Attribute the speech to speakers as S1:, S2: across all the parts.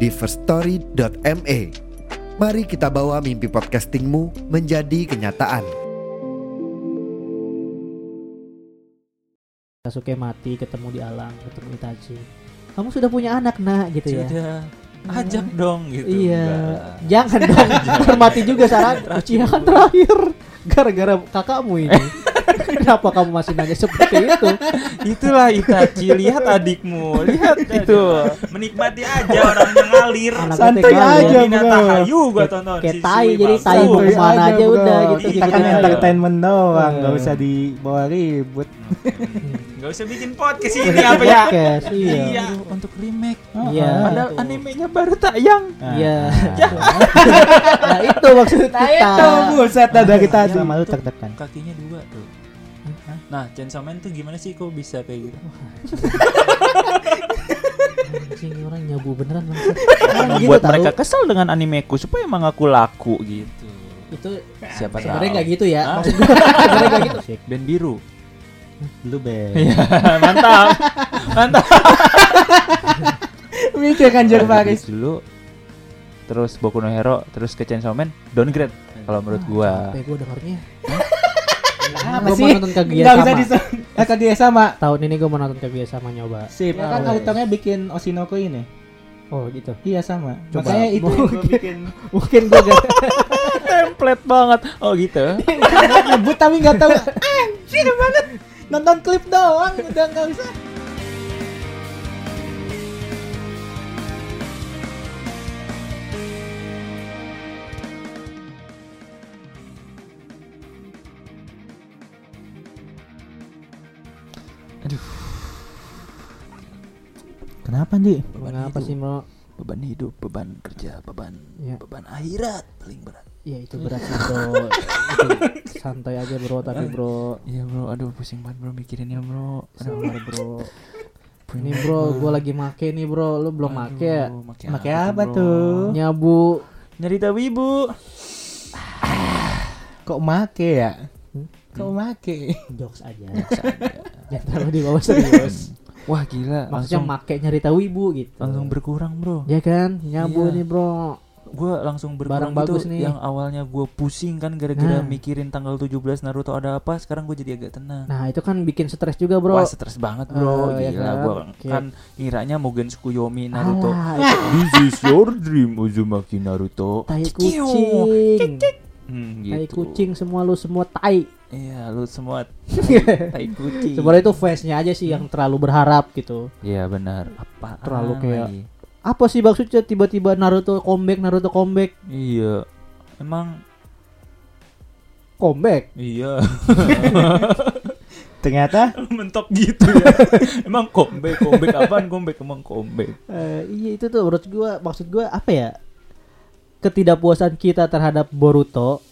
S1: di firststory.me. Mari kita bawa mimpi podcastingmu menjadi kenyataan.
S2: Sasuke mati, ketemu di alam, ketemu Itachi. Kamu sudah punya anak, nak, gitu ya.
S3: Sudah ajak dong gitu.
S2: Iya.
S3: Enggak.
S2: Jangan dong, hormati juga saran Uchiha kan terakhir. Gara-gara kakakmu ini. Kenapa kamu masih nanya seperti itu?
S3: Itulah Itachi, lihat adikmu, lihat itu. Menikmati aja orang mengalir.
S2: Anak
S4: Santai
S2: TK lu.
S4: aja,
S3: Minata
S4: bener.
S3: Hayu gua tonton.
S2: Iya. Kayak
S3: si
S2: tai,
S3: Sui
S2: jadi
S3: Bangsu.
S2: tai mau
S4: Santuy
S2: kemana aja
S4: bro.
S2: udah gitu,
S4: Kita
S3: gitu
S4: kan
S3: aja.
S4: entertainment doang, nggak
S2: Hmm.
S4: usah dibawa ribut.
S3: Gak usah bikin podcast ini apa ya?
S2: Podcast, iya.
S3: untuk remake.
S4: Oh,
S2: Iya.
S3: Padahal
S2: Itu.
S3: animenya baru tayang.
S4: Nah.
S2: Iya. Nah, itu maksud kita.
S4: Tahu buset dah dari
S3: Yang
S4: tadi. Sama lu
S3: itu
S4: tertekan.
S3: Kakinya dua tuh. Nah, Chainsaw Man tuh gimana sih kok bisa kayak gitu?
S2: Anjing, orang nyabu beneran maksud. Orang gitu
S5: membuat
S2: tahu.
S5: mereka kesel dengan animeku supaya emang aku laku gitu.
S2: itu
S3: Nah,
S5: Siapa
S2: sebenarnya
S5: tahu.
S2: nggak gitu ya.
S3: Hah?
S2: Maksud gua sebenarnya nggak gitu.
S5: Band biru.
S4: Lu be.
S5: Iya, mantap. Mantap.
S4: Mikir kan Jer Faris.
S5: Habis dulu terus Boku no Hero, terus ke Chainsaw Man, downgrade kalau menurut
S2: Ah,
S5: gua.
S2: Capek Eh, gua dengarnya.
S4: Apa
S2: Gua
S4: sih?
S2: mau nonton kegiatan
S4: Nggak bisa
S2: sama.
S4: disem. Eh kadia sama.
S2: Tahun ini gua mau nonton kebiasa sama nyoba.
S4: Sip. Ya kan
S2: Awes.
S4: Aritongnya bikin Oshinoko ini.
S2: Oh gitu.
S4: Iya sama.
S2: Coba.
S4: Makanya itu yang gua bikin
S2: Mungkin gua gak
S5: Template banget. Oh gitu.
S4: nyebut tapi nggak tahu. Anjir banget. Nonton klip doang udah nggak usah.
S5: Kenapa, Di?
S2: Kenapa sih Bro?
S5: Beban hidup, beban kerja, beban
S2: Ya.
S5: beban akhirat paling berat.
S2: Ya itu berat sih bro. Itu santai aja bro tapi bro.
S5: Iya, Bro. Aduh, pusing banget, Bro, mikirinnya, Bro. Aduh,
S2: Sabar bro. Ini bro, gua lagi make nih bro. Lu belum make ya?
S4: Pakai apa tuh?
S2: Nyabu.
S5: Nyerita wibu.
S4: Kok make ya? Kok make?
S2: Jokes aja. Jangan terlalu dibawa serius.
S5: Wah, gila.
S2: Maksudnya
S5: Langsung
S2: make nyerita wibu gitu.
S5: langsung berkurang, Bro.
S2: Ya kan? Nyabu
S5: Iya.
S2: nih bro.
S5: gue langsung
S2: Barang
S5: berkurang
S2: bagus
S5: gitu
S2: nih.
S5: yang awalnya gue pusing kan gara-gara
S2: Nah.
S5: mikirin tanggal 17 Naruto ada apa sekarang gue jadi agak tenang
S2: Nah itu kan bikin stres juga bro.
S5: wah stres banget bro
S2: Eh, ya
S5: gila
S2: kan?
S5: gue
S2: Oke.
S5: kan kiranya Mugen Tsukuyomi Naruto Ah,
S2: Alah,
S5: this is your dream Uzumaki Naruto
S2: tai
S5: Cikiu.
S2: kucing.
S5: hmm, gitu.
S2: Tai kucing semua lu semua tai.
S5: iya lu semua tai, tai kucing
S2: Sebenarnya itu face-nya aja sih yang terlalu berharap gitu.
S5: iya benar apa
S2: Terlalu kayak- Apa sih maksudnya tiba-tiba Naruto comeback, Naruto comeback,
S5: iya emang
S2: comeback?
S5: iya
S4: Ternyata
S5: mentok gitu ya emang comeback comeback apaan comeback emang comeback
S2: Eh, iya itu tuh menurut gua maksud gua apa ya? Ketidakpuasan kita terhadap Boruto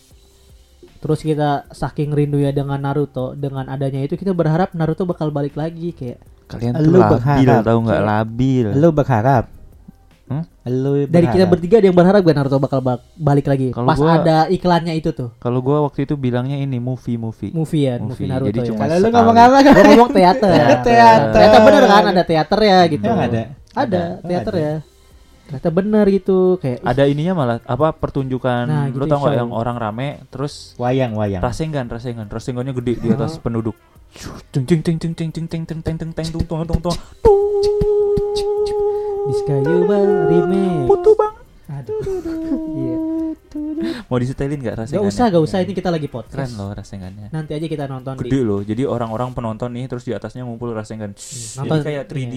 S2: terus kita saking rindu ya dengan Naruto dengan adanya itu kita berharap Naruto bakal balik lagi kayak
S5: Kalian
S4: tuh Lu labil, berharap.
S5: tau nggak labil.
S4: lu berharap.
S5: Hmm?
S4: Lu
S2: dari kita
S4: berharap.
S2: bertiga ada yang berharap gak Naruto bakal bak- balik lagi
S5: Kalau
S2: pas
S5: gua-
S2: ada iklannya itu tuh
S5: Kalau gua waktu itu bilangnya ini movie movie.
S2: movie ya movie,
S5: Movie,
S2: Naruto
S5: jadi
S2: ya.
S5: cuma-
S4: Kalau lu
S5: sekali.
S4: ngomong apa
S2: Gua ngomong teater.
S4: Teater.
S2: Ternyata bener kan ada teater ya gitu.
S4: Emang ada?
S2: Ada,
S4: Ada. Oh,
S2: teater
S4: Ada.
S2: ya. Ternyata bener gitu kayak ih,
S5: Ada ininya malah apa pertunjukan
S2: Nah, gitu
S5: lu tau nggak
S2: show.
S5: yang orang rame terus
S4: Wayang, wayang.
S5: rasengan rasengan rasengannya gede
S2: Oh.
S5: di atas penduduk. Ting ting ting ting ting ting ting ting ting ting ting tung tung tung tung.
S2: Discayuba remake.
S5: Putu bang.
S2: Aduh. Iya.
S5: Mau disetelin nggak
S2: Gak
S5: rasengannya?
S2: usah, gak usah ini kita lagi
S5: Keren
S2: podcast.
S5: loh rasengannya.
S2: Nanti aja kita nonton
S5: Gede
S2: di Iya,
S5: loh. Jadi orang-orang penonton nih terus di atasnya ngumpul rasengan. Jadi
S2: nonton-
S5: kayak 3D.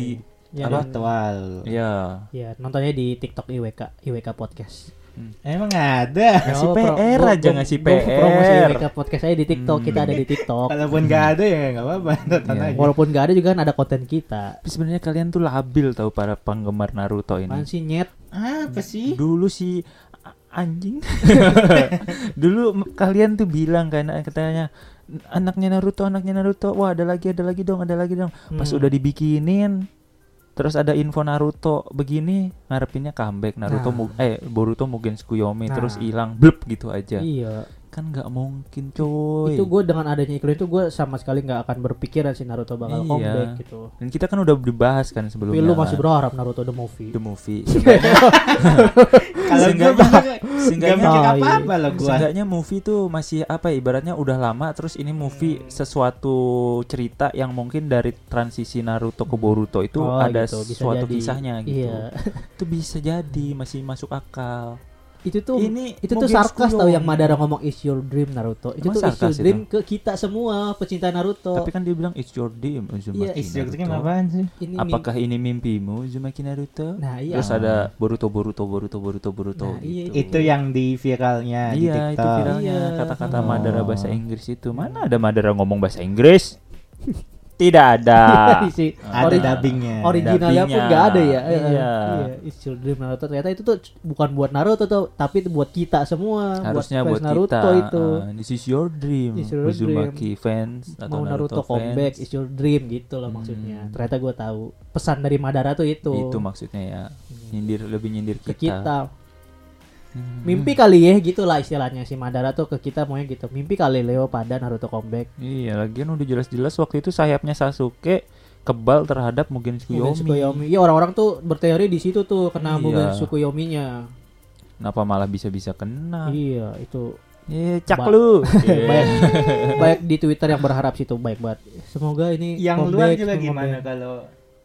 S2: ya,
S4: Apa?
S2: dan-
S4: Tual.
S5: Iya.
S2: Ya, nontonnya di TikTok IWK, IWK Podcast.
S4: Emang ada.
S5: Ngasih
S2: Ya,
S5: PR
S2: pro-
S5: aja,
S2: gua-
S5: ngasih
S2: gua Promosi
S5: PR.
S2: IWK Podcast aja di TikTok, kita Hmm. ada di TikTok.
S4: Kalaupun nggak ada ya nggak apa-apa. Tonton
S5: Iya.
S4: aja.
S2: Walaupun gak ada juga kan ada konten kita.
S5: Tapi sebenarnya kalian tuh labil tau para penggemar Naruto ini.
S2: Apaan sih nyet?
S4: Apa Apa sih?
S5: Dulu si a- anjing. Dulu m- kalian tuh bilang kan katanya anaknya Naruto, anaknya Naruto. Wah, ada lagi, ada lagi dong, ada lagi dong. Pas
S2: Hmm.
S5: udah dibikinin terus ada info Naruto begini, ngarepinnya comeback
S2: Nah.
S5: Naruto Mu- eh Boruto Mugen
S2: Nah.
S5: Tsukuyomi terus hilang blep gitu aja.
S2: Iya.
S5: Kan nggak mungkin, coy.
S2: Itu gue dengan adanya iklan itu gue sama sekali nggak akan berpikiran si Naruto bakal
S5: Iya.
S2: comeback gitu.
S5: Dan kita kan udah dibahas kan
S2: Tapi
S5: sebelumnya.
S2: lu masih berharap Naruto the movie.
S5: The movie.
S4: Kalau gue
S3: Seenggaknya-
S4: Gak
S3: seenggaknya-
S4: mikir
S2: Tai.
S4: apa-apa loh gue
S5: Seenggaknya movie tuh masih apa ya, ibaratnya udah lama terus ini movie
S2: Hmm.
S5: sesuatu cerita yang mungkin dari transisi Naruto ke Boruto itu
S2: Oh,
S5: ada
S2: gitu, bisa
S5: suatu
S2: jadi.
S5: kisahnya gitu.
S2: Iya.
S5: Itu bisa jadi masih masuk akal.
S2: itu tuh
S5: Ini
S2: itu tuh
S5: Mugen
S2: sarkas tau
S5: Tsukuyomi.
S2: yang Madara ngomong is your dream Naruto. Itu
S5: Emang
S2: tuh is
S5: sarkas
S2: your
S5: itu?
S2: dream ke kita semua pecinta Naruto.
S5: Tapi kan dia bilang it's your dream Uzumaki
S2: Iya,
S4: Is
S5: Naruto.
S4: joke itu kan apaan sih?
S2: ini mim-
S5: Apakah ini mimpimu Uzumaki Naruto?
S2: Nah, iya.
S5: Terus ada Boruto Boruto Boruto Boruto Boruto.
S2: Nah, iya,
S5: gitu.
S4: Itu yang di viralnya di
S5: Iya, itu
S4: TikTok.
S5: viralnya
S2: Iya.
S5: kata-kata
S4: Oh.
S5: Madara bahasa Inggris itu. Mana ada Madara ngomong bahasa Inggris? Tidak ada.
S2: Isi-
S4: Ada
S2: ori-
S4: dubbingnya.
S2: originalnya pun
S5: Dubbingnya.
S2: nggak ada ya. Eh,
S5: Iya.
S2: iya. It's your dream Naruto ternyata itu tuh bukan buat Naruto tuh, tapi itu buat kita semua,
S5: Harusnya
S2: fans
S5: buat,
S2: Naruto
S5: kita.
S2: itu.
S5: ah, this is your dream.
S2: This is your
S5: Uzumaki fans atau
S2: mau Naruto,
S5: Naruto,
S2: comeback
S5: fans. Hmm.
S2: is your dream gitu loh maksudnya. Ternyata gue tahu pesan dari Madara tuh itu.
S5: Itu maksudnya ya. Nyindir lebih nyindir
S2: ke
S5: kita. Hmm.
S2: kita. Mimpi kali ya gitu lah istilahnya si Madara tuh ke kita maunya gitu. Mimpi kali Leo pada Naruto comeback.
S5: Iya, lagian udah jelas-jelas waktu itu sayapnya Sasuke kebal terhadap Mugen
S2: Mugen
S5: Tsukuyomi.
S2: Tsukuyomi. Iya orang-orang tuh berteori di situ tuh kena
S5: Iya.
S2: Mugen Tsukuyominya.
S5: Kenapa malah bisa-bisa kena?
S2: Iya, itu
S5: Eh, cak
S2: Ba- Iya.
S5: lu. Eh,
S2: banyak banyak di Twitter yang berharap situ baik banget. Semoga ini
S4: Yang luar
S2: comeback,
S4: juga
S2: semoga-
S4: gimana kalau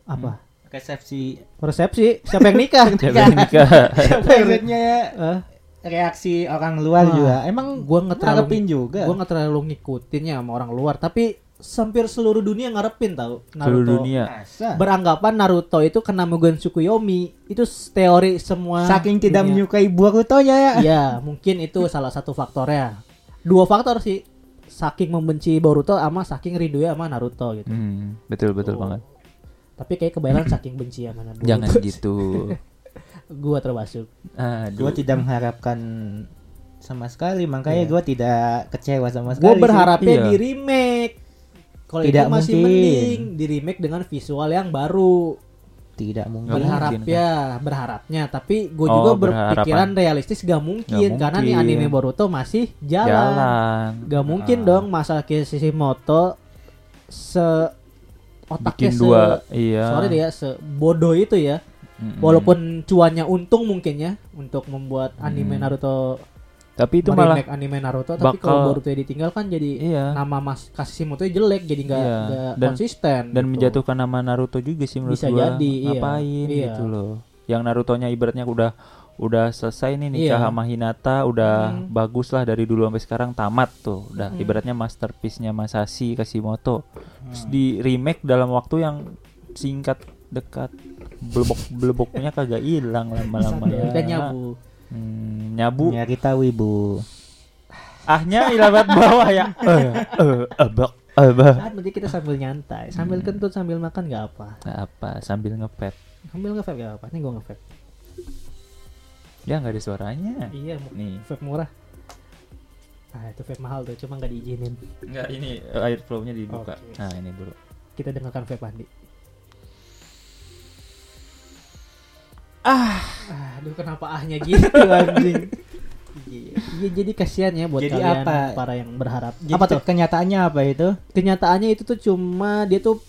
S2: Apa?
S4: resepsi
S2: Resepsi Hmm. siapa yang nikah? Iya.
S5: siapa yang nikah?
S4: maksudnya
S2: Hah?
S4: reaksi orang luar
S2: Wah,
S4: juga emang
S2: gua nggak terlalu-
S4: ngarepin juga
S2: Gua nggak terlalu ngikutinnya sama orang luar, tapi hampir seluruh dunia ngarepin tau
S5: Seluruh dunia.
S4: Masa?
S2: beranggapan Naruto itu kena Mugen Tsukuyomi itu s- teori semua
S4: saking tidak
S2: dunia.
S4: menyukai Borutonya ya
S2: ya mungkin itu salah satu faktornya dua faktor sih saking membenci Boruto sama saking rindu sama Naruto gitu
S5: Hmm, betul betul
S2: Oh.
S5: banget.
S2: tapi kayak kebayaran saking benci sama Naruto
S5: Jangan gitu.
S2: gua termasuk
S4: gue
S5: Aduh.
S4: tidak mengharapkan sama sekali makanya
S2: Iya.
S4: gue tidak kecewa sama sekali
S2: gua
S4: sih.
S2: berharapnya
S5: Iya.
S2: di remake kalau itu
S4: Tidak
S2: masih
S4: mungkin.
S2: mending di remake dengan visual yang baru
S4: tidak
S5: Nggak
S4: mungkin
S5: mungkin,
S2: berharap ya berharapnya tapi gue
S5: Oh,
S2: juga
S5: berharapan.
S2: berpikiran realistis gak mungkin,
S5: Nggak
S2: karena nih
S5: mungkin.
S2: anime Boruto masih jalan.
S5: Jalan.
S2: Gak mungkin
S5: Ah,
S2: dong masa Kishimoto se otaknya
S5: Bikin
S2: se
S5: dua. Iya.
S2: sorry deh ya sebodoh itu ya.
S5: Mm-mm.
S2: Walaupun cuannya untung mungkin ya untuk membuat anime
S5: Hmm.
S2: Naruto
S5: Tapi itu malah
S2: remake anime Naruto tapi
S5: bakal-
S2: kalau Boruto ya ditinggal kan jadi
S5: iya.
S2: nama Mas Kishimoto jelek jadi nggak
S5: Iya.
S2: nggak
S5: Dan-
S2: konsisten
S5: Dan
S2: gitu.
S5: menjatuhkan nama Naruto juga sih menurut
S2: Bisa
S5: gua.
S2: jadi, iya.
S5: Ngapain
S2: Iya.
S5: gitu loh. Yang Narutonya ibaratnya udah udah selesai nih nikah
S2: Iya.
S5: sama Hinata udah
S2: Mm.
S5: bagus lah dari dulu sampai sekarang tamat tuh udah
S2: Mm.
S5: ibaratnya masterpiece-nya Masashi Kashimoto terus
S2: Hmm.
S5: di remake dalam waktu yang singkat dekat belebok beleboknya kagak hilang lama-lama ya
S2: Kan nyabu.
S5: Hmm, nyabu
S4: ya kita wibu
S5: ahnya ilabat bawah ya eh eh, abak abak
S2: Saat nanti kita sambil nyantai, sambil
S5: Hmm.
S2: kentut, sambil makan nggak apa.
S5: Nggak apa sambil ngepet
S2: Sambil ngevape nggak apa. Ini gue ngevape.
S5: dia nggak ada suaranya
S2: Iya, mu-
S5: nih
S2: vape murah. Ah itu vape mahal tuh, cuma nggak diizinin.
S5: nggak ini air flownya dibuka
S2: Oke.
S5: nah ini dulu
S2: Kita dengarkan vape Andi. Ah, aduh kenapa ahnya gitu anjing. Iya, Iya, jadi kasihan ya buat
S4: Jadi
S2: kalian
S4: apa?
S2: para yang berharap.
S4: Jadi
S2: apa tuh?
S4: kenyataannya apa itu
S2: Kenyataannya itu tuh cuma dia tuh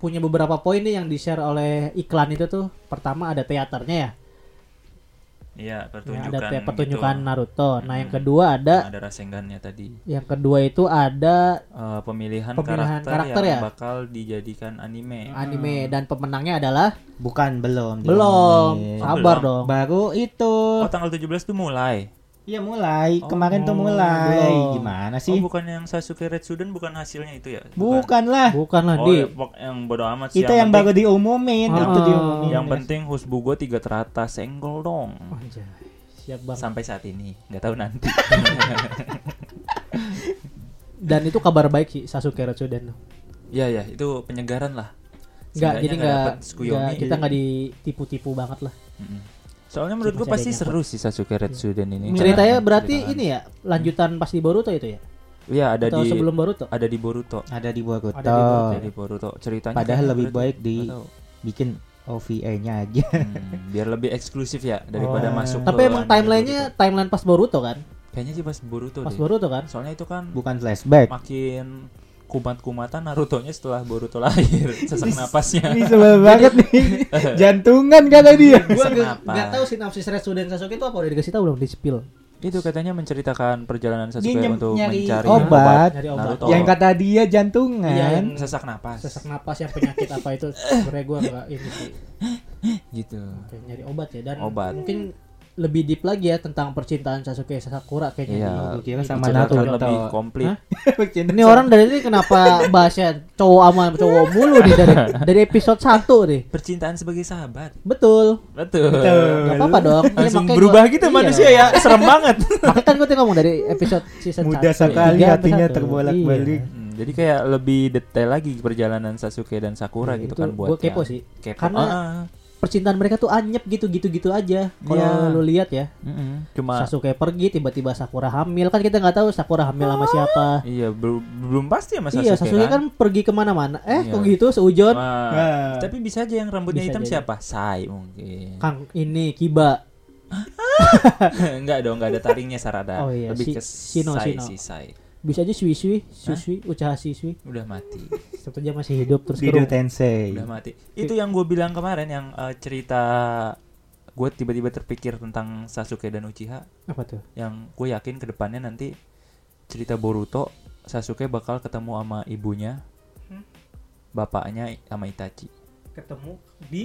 S2: punya beberapa poin nih yang di-share oleh iklan itu tuh. Pertama ada teaternya ya.
S3: Iya,
S2: Ya,
S3: pertunjukan.
S2: ada te- pertunjukan
S3: gitu.
S2: Naruto. Nah, yang
S3: Mm-mm.
S2: kedua ada
S3: ada rasengannya tadi.
S2: yang kedua itu ada
S3: Eh, pemilihan,
S2: Pemilihan
S3: karakter,
S2: karakter
S3: yang
S2: ya?
S3: bakal dijadikan anime.
S4: Hmm.
S2: anime dan pemenangnya adalah
S4: bukan belum
S2: belum.
S4: diomongin.
S3: Oh,
S2: Sabar
S3: belum.
S2: dong.
S4: baru itu
S3: Oh, tanggal 17 tuh mulai.
S4: iya mulai kemarin tuh
S3: Oh,
S4: mulai
S2: belum.
S3: Oh,
S4: gimana sih
S3: bukan yang Sasuke Retsuden bukan hasilnya itu ya?
S4: bukan lah
S2: Bukan lah
S3: Oh,
S2: Nah, di
S3: ya, pok- yang bodo amat sih.
S4: itu yang
S3: penting-
S4: baru diumumin
S2: Ah.
S4: itu diumumin
S3: Yang penting husbu gue tiga teratas senggol dong.
S2: Anjay, siap banget.
S3: Sampai saat ini, nggak tahu nanti.
S2: Dan itu kabar baik sih Sasuke Retsuden.
S3: ya ya, itu penyegaran lah.
S2: Enggak,
S3: Seenggaknya
S2: jadi enggak
S3: dapet Tsukuyomi.
S2: kita enggak ditipu-tipu banget lah.
S3: Mm-mm.
S5: Soalnya menurut
S2: Masih
S5: gua
S2: ada
S5: pasti
S2: yang Iya.
S5: seru sih Sasuke Retsuden ini.
S2: Ceritanya berarti ini ya lanjutan pas di Boruto itu ya?
S5: Iya, ada
S2: Atau
S5: di
S2: sebelum Oh. Boruto?
S5: ada di Boruto.
S4: Ada di Boruto.
S2: Ada di Boruto.
S5: Ada di gitu. Boruto. Ceritanya
S4: Padahal
S5: kayak
S4: lebih
S5: Boruto.
S4: baik di-
S5: Nggak tahu.
S4: Bikin OVA-nya aja.
S5: Hmm, biar lebih eksklusif ya daripada
S2: Oh.
S5: masuk
S2: Tapi
S5: ke
S2: emang
S5: anime
S2: timelinenya
S5: Boruto.
S2: timeline pas Boruto kan?
S5: kayaknya sih pas Boruto
S2: Pas
S5: deh.
S2: Boruto kan?
S5: Soalnya itu kan
S4: Bukan flashback.
S5: makin kumat-kumatan Naruto-nya setelah Boruto lahir. Sesak napasnya.
S4: Ini sebel banget nih. Jantungan kata dia.
S2: Gua nggak
S5: Kenapa?
S2: nggak tahu sinopsis Retsuden Sasuke itu apa udah dikasih tahu belum di spill?
S5: itu katanya menceritakan perjalanan Sasuke
S4: nyem-
S5: untuk
S4: nyari
S5: mencari
S2: Oh,
S4: obat.
S2: Nyari obat.
S5: Naruto.
S4: Yang kata dia
S5: Iya,
S2: kan?
S5: yang
S4: jantungan.
S5: sesak napas.
S2: Sesak napas yang penyakit apa itu sebenarnya gua nggak ini sih.
S5: Gitu.
S2: Oke, nyari obat ya dan
S5: Obat.
S2: mungkin lebih deep lagi ya tentang percintaan Sasuke Sakura kayaknya.
S5: Iya.
S2: Ini gua kira
S4: Sama
S5: Diceritakan
S4: Naruto.
S5: lebih komplit.
S2: Hah? Ini orang dari ini kenapa bahasnya cowok sama cowok mulu nih dari dari episode 1 nih.
S5: Percintaan sebagai sahabat.
S2: Betul.
S5: Betul.
S2: Gak apa-apa dong. Ini
S5: Langsung
S2: makanya
S5: berubah
S2: gua-
S5: gitu
S2: iya.
S5: manusia ya. Serem banget.
S2: Makanya kan gue tadi ngomong dari episode season
S4: Mudah
S2: satu,
S4: sekali
S2: tiga sampai
S4: hatinya
S2: satu.
S4: terbolak-balik.
S2: Iya.
S5: Hmm, jadi kayak lebih detail lagi perjalanan Sasuke dan Sakura
S2: Iya,
S5: gitu
S2: itu
S5: kan buat
S2: gua kepo
S5: yang-
S2: sih.
S5: Kepo.
S2: Karena-
S5: Ah,
S2: Percintaan mereka tuh anyep gitu gitu-gitu aja. Kalau
S5: Iya.
S2: lu lihat ya,
S5: mm-mm. cuma
S2: Sasuke pergi tiba-tiba Sakura hamil kan kita nggak tahu Sakura hamil sama siapa.
S5: iya bel- belum pasti sama Sasuke,
S2: iya Sasuke kan pergi kemana-mana. Eh
S5: Iya.
S2: kok gitu seujon
S5: Wah,
S4: Wah.
S5: Tapi bisa aja yang rambutnya
S2: Bisa
S5: hitam
S2: jadi.
S5: siapa? Sai mungkin.
S2: Kang ini Kiba.
S5: enggak dong, enggak ada taringnya Sarada.
S2: Oh iya,
S5: Lebih
S2: si-
S5: ke
S2: Shino,
S5: Sai
S2: Shino.
S5: si Sai.
S2: Bisa aja Sui Sui, Sui Sui, Uchiha Sui Sui.
S5: Udah mati.
S2: Satu jam masih hidup terus
S4: Dido
S2: kurung.
S4: Tensei.
S2: Iya.
S5: Udah mati. Itu yang gue bilang kemarin yang eh, cerita gue tiba-tiba terpikir tentang Sasuke dan Uchiha
S2: Apa tuh?
S5: yang gue yakin kedepannya nanti cerita Boruto Sasuke bakal ketemu sama ibunya bapaknya sama Itachi
S3: Ketemu di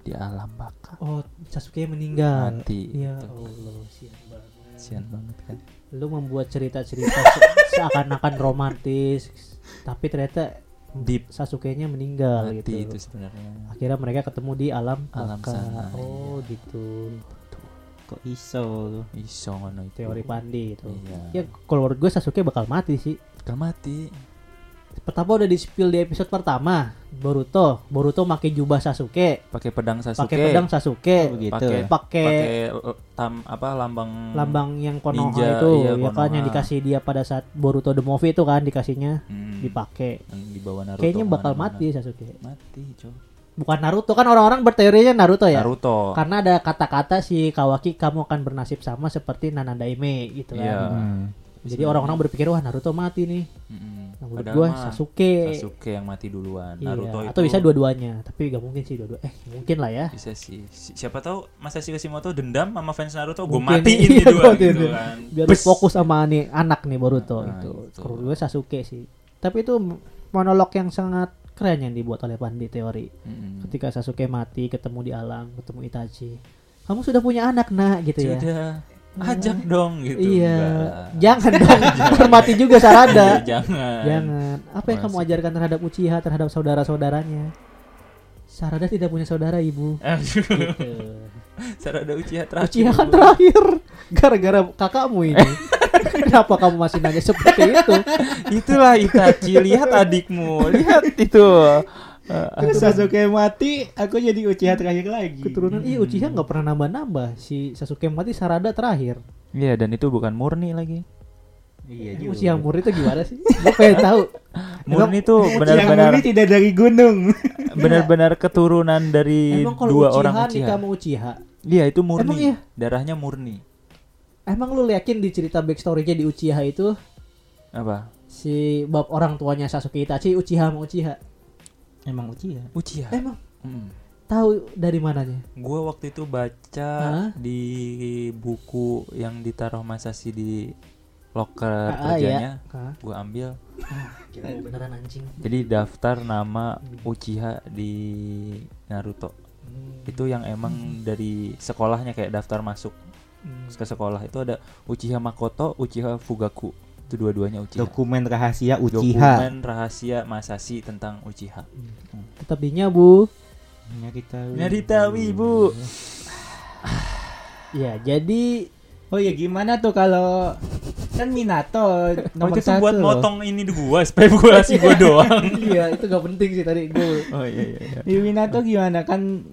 S5: di alam baka
S2: Oh Sasuke meninggal.
S5: Mati.
S2: Ya
S5: Itu.
S2: Allah sian banget.
S5: kasihan banget kan
S2: lu membuat cerita-cerita se- seakan-akan romantis tapi ternyata
S5: Deep.
S2: Sasuke-nya meninggal
S5: mati
S2: gitu.
S5: itu sebenarnya
S2: Akhirnya mereka ketemu di alam
S5: Alam
S2: baka.
S5: sana, iya.
S2: Oh, gitu.
S4: Kok iso lu?
S5: iso ngono itu
S2: Teori Pandi itu.
S5: iya
S2: Ya kalau menurut gue Sasuke bakal mati sih.
S5: udah mati
S2: Pertama udah di spill di episode pertama Boruto, Boruto pakai jubah Sasuke,
S5: pakai pedang Sasuke
S2: pakai pedang Sasuke,
S4: Begitu.
S5: pakai
S2: pakai
S5: pakai l- tam apa lambang
S2: lambang yang Konoha
S5: Ninja,
S2: itu
S5: iya,
S2: ya kan
S5: Konoha.
S2: yang dikasih dia pada saat Boruto the movie itu kan dikasihnya
S5: Hmm.
S2: dipakai.
S5: Yang dibawa Naruto
S2: Kayaknya bakal
S5: kemana-mana.
S2: mati Sasuke.
S5: mati coy
S2: bukan Naruto kan orang-orang berteorinya Naruto ya
S5: Naruto
S2: karena ada kata-kata si Kawaki kamu akan bernasib sama seperti Nanadaime gitu kan
S5: Iya.
S2: jadi orang-orang berpikir wah Naruto mati nih
S5: Mm-mm.
S2: Nah, menurut
S5: Padahal
S2: gua
S5: mah
S2: Sasuke,
S5: Sasuke yang mati duluan
S2: Iya.
S5: Naruto itu
S2: atau bisa dua-duanya tapi gak mungkin sih dua-dua eh mungkin lah ya
S5: bisa sih Si- siapa tahu Masashi Kishimoto dendam sama fans Naruto gue
S2: Mungkin.
S5: Oh, matiin nih
S2: Iya,
S5: dua
S2: gua matiin
S5: gitu
S2: dia.
S5: kan
S2: biar
S5: Bes.
S2: fokus sama nih anak nih Boruto
S5: Nah,
S2: itu
S5: gitu.
S2: Menurut gue Sasuke sih tapi itu monolog yang sangat keren yang dibuat oleh Pandi teori
S5: Mm-mm.
S2: ketika Sasuke mati ketemu di alam ketemu Itachi kamu sudah punya anak nak gitu ya
S5: sudah ajak dong gitu
S2: Iya,
S5: Enggak lah.
S2: jangan dong. Hormati juga
S5: Iya,
S2: Sarada.
S5: jangan
S2: jangan. Apa yang kamu
S5: Masih.
S2: ajarkan terhadap Uchiha, terhadap saudara-saudaranya? Sarada tidak punya saudara, Ibu.
S5: Aduh,
S2: Gitu.
S5: Sarada Uchiha terakhir
S2: Uchiha kan terakhir gara-gara kakakmu ini. Kenapa kamu masih nanya seperti itu?
S5: Itulah Itachi Lihat adikmu Lihat itu
S2: kan
S4: Terus Sasuke mati, aku jadi Uchiha terakhir lagi.
S2: Keturunan iya Uchiha nggak pernah nambah-nambah. Si Sasuke mati Sarada terakhir.
S5: Iya dan itu bukan murni lagi
S4: Iya juga.
S2: Uchiha murni itu gimana sih? Gue pengen tahu.
S5: Murni itu
S4: Yang
S5: benar-benar
S4: ini tidak dari gunung.
S5: benar-benar keturunan dari
S2: Emang kalau
S5: dua
S2: Uchiha
S5: orang
S2: nikah
S5: Uchiha.
S2: sama Uchiha,
S5: Iya itu murni.
S2: Emang iya?
S5: Darahnya murni.
S2: emang lu yakin di cerita backstory-nya di Uchiha itu
S5: Apa?
S2: si bab orang tuanya Sasuke Itachi Uchiha sama Uchiha.
S4: Emang Uchiha.
S5: Uchiha.
S2: Emang
S5: Mm.
S2: tahu dari mananya?
S5: Gua waktu itu baca
S2: Hah?
S5: di buku yang ditaruh Masashi di loker
S2: Ah, ah,
S5: kerjanya.
S2: Hah?
S5: Gua ambil.
S4: Ah,
S2: Beneran anjing.
S5: Jadi daftar nama Uchiha di Naruto.
S2: Hmm.
S5: Itu yang emang dari sekolahnya kayak daftar masuk
S2: Hmm.
S5: ke sekolah itu ada Uchiha Makoto, Uchiha Fugaku. Itu dua-duanya Uchiha.
S4: Dokumen rahasia Uchiha.
S5: dokumen rahasia Masashi tentang Uchiha.
S2: Tetap dinya, Bu.
S4: Nyari tahu.
S5: Narita Wibu.
S2: Ya, jadi
S4: Oh ya gimana tuh kalau kan Minato
S5: Oh,
S4: nomor
S5: itu tuh
S4: satu
S5: buat
S4: loh.
S5: motong ini di gua, supaya gua kasih gua doang.
S2: iya, itu gak penting sih tadi gue.
S5: Oh iya iya.
S4: Di Minato gimana kan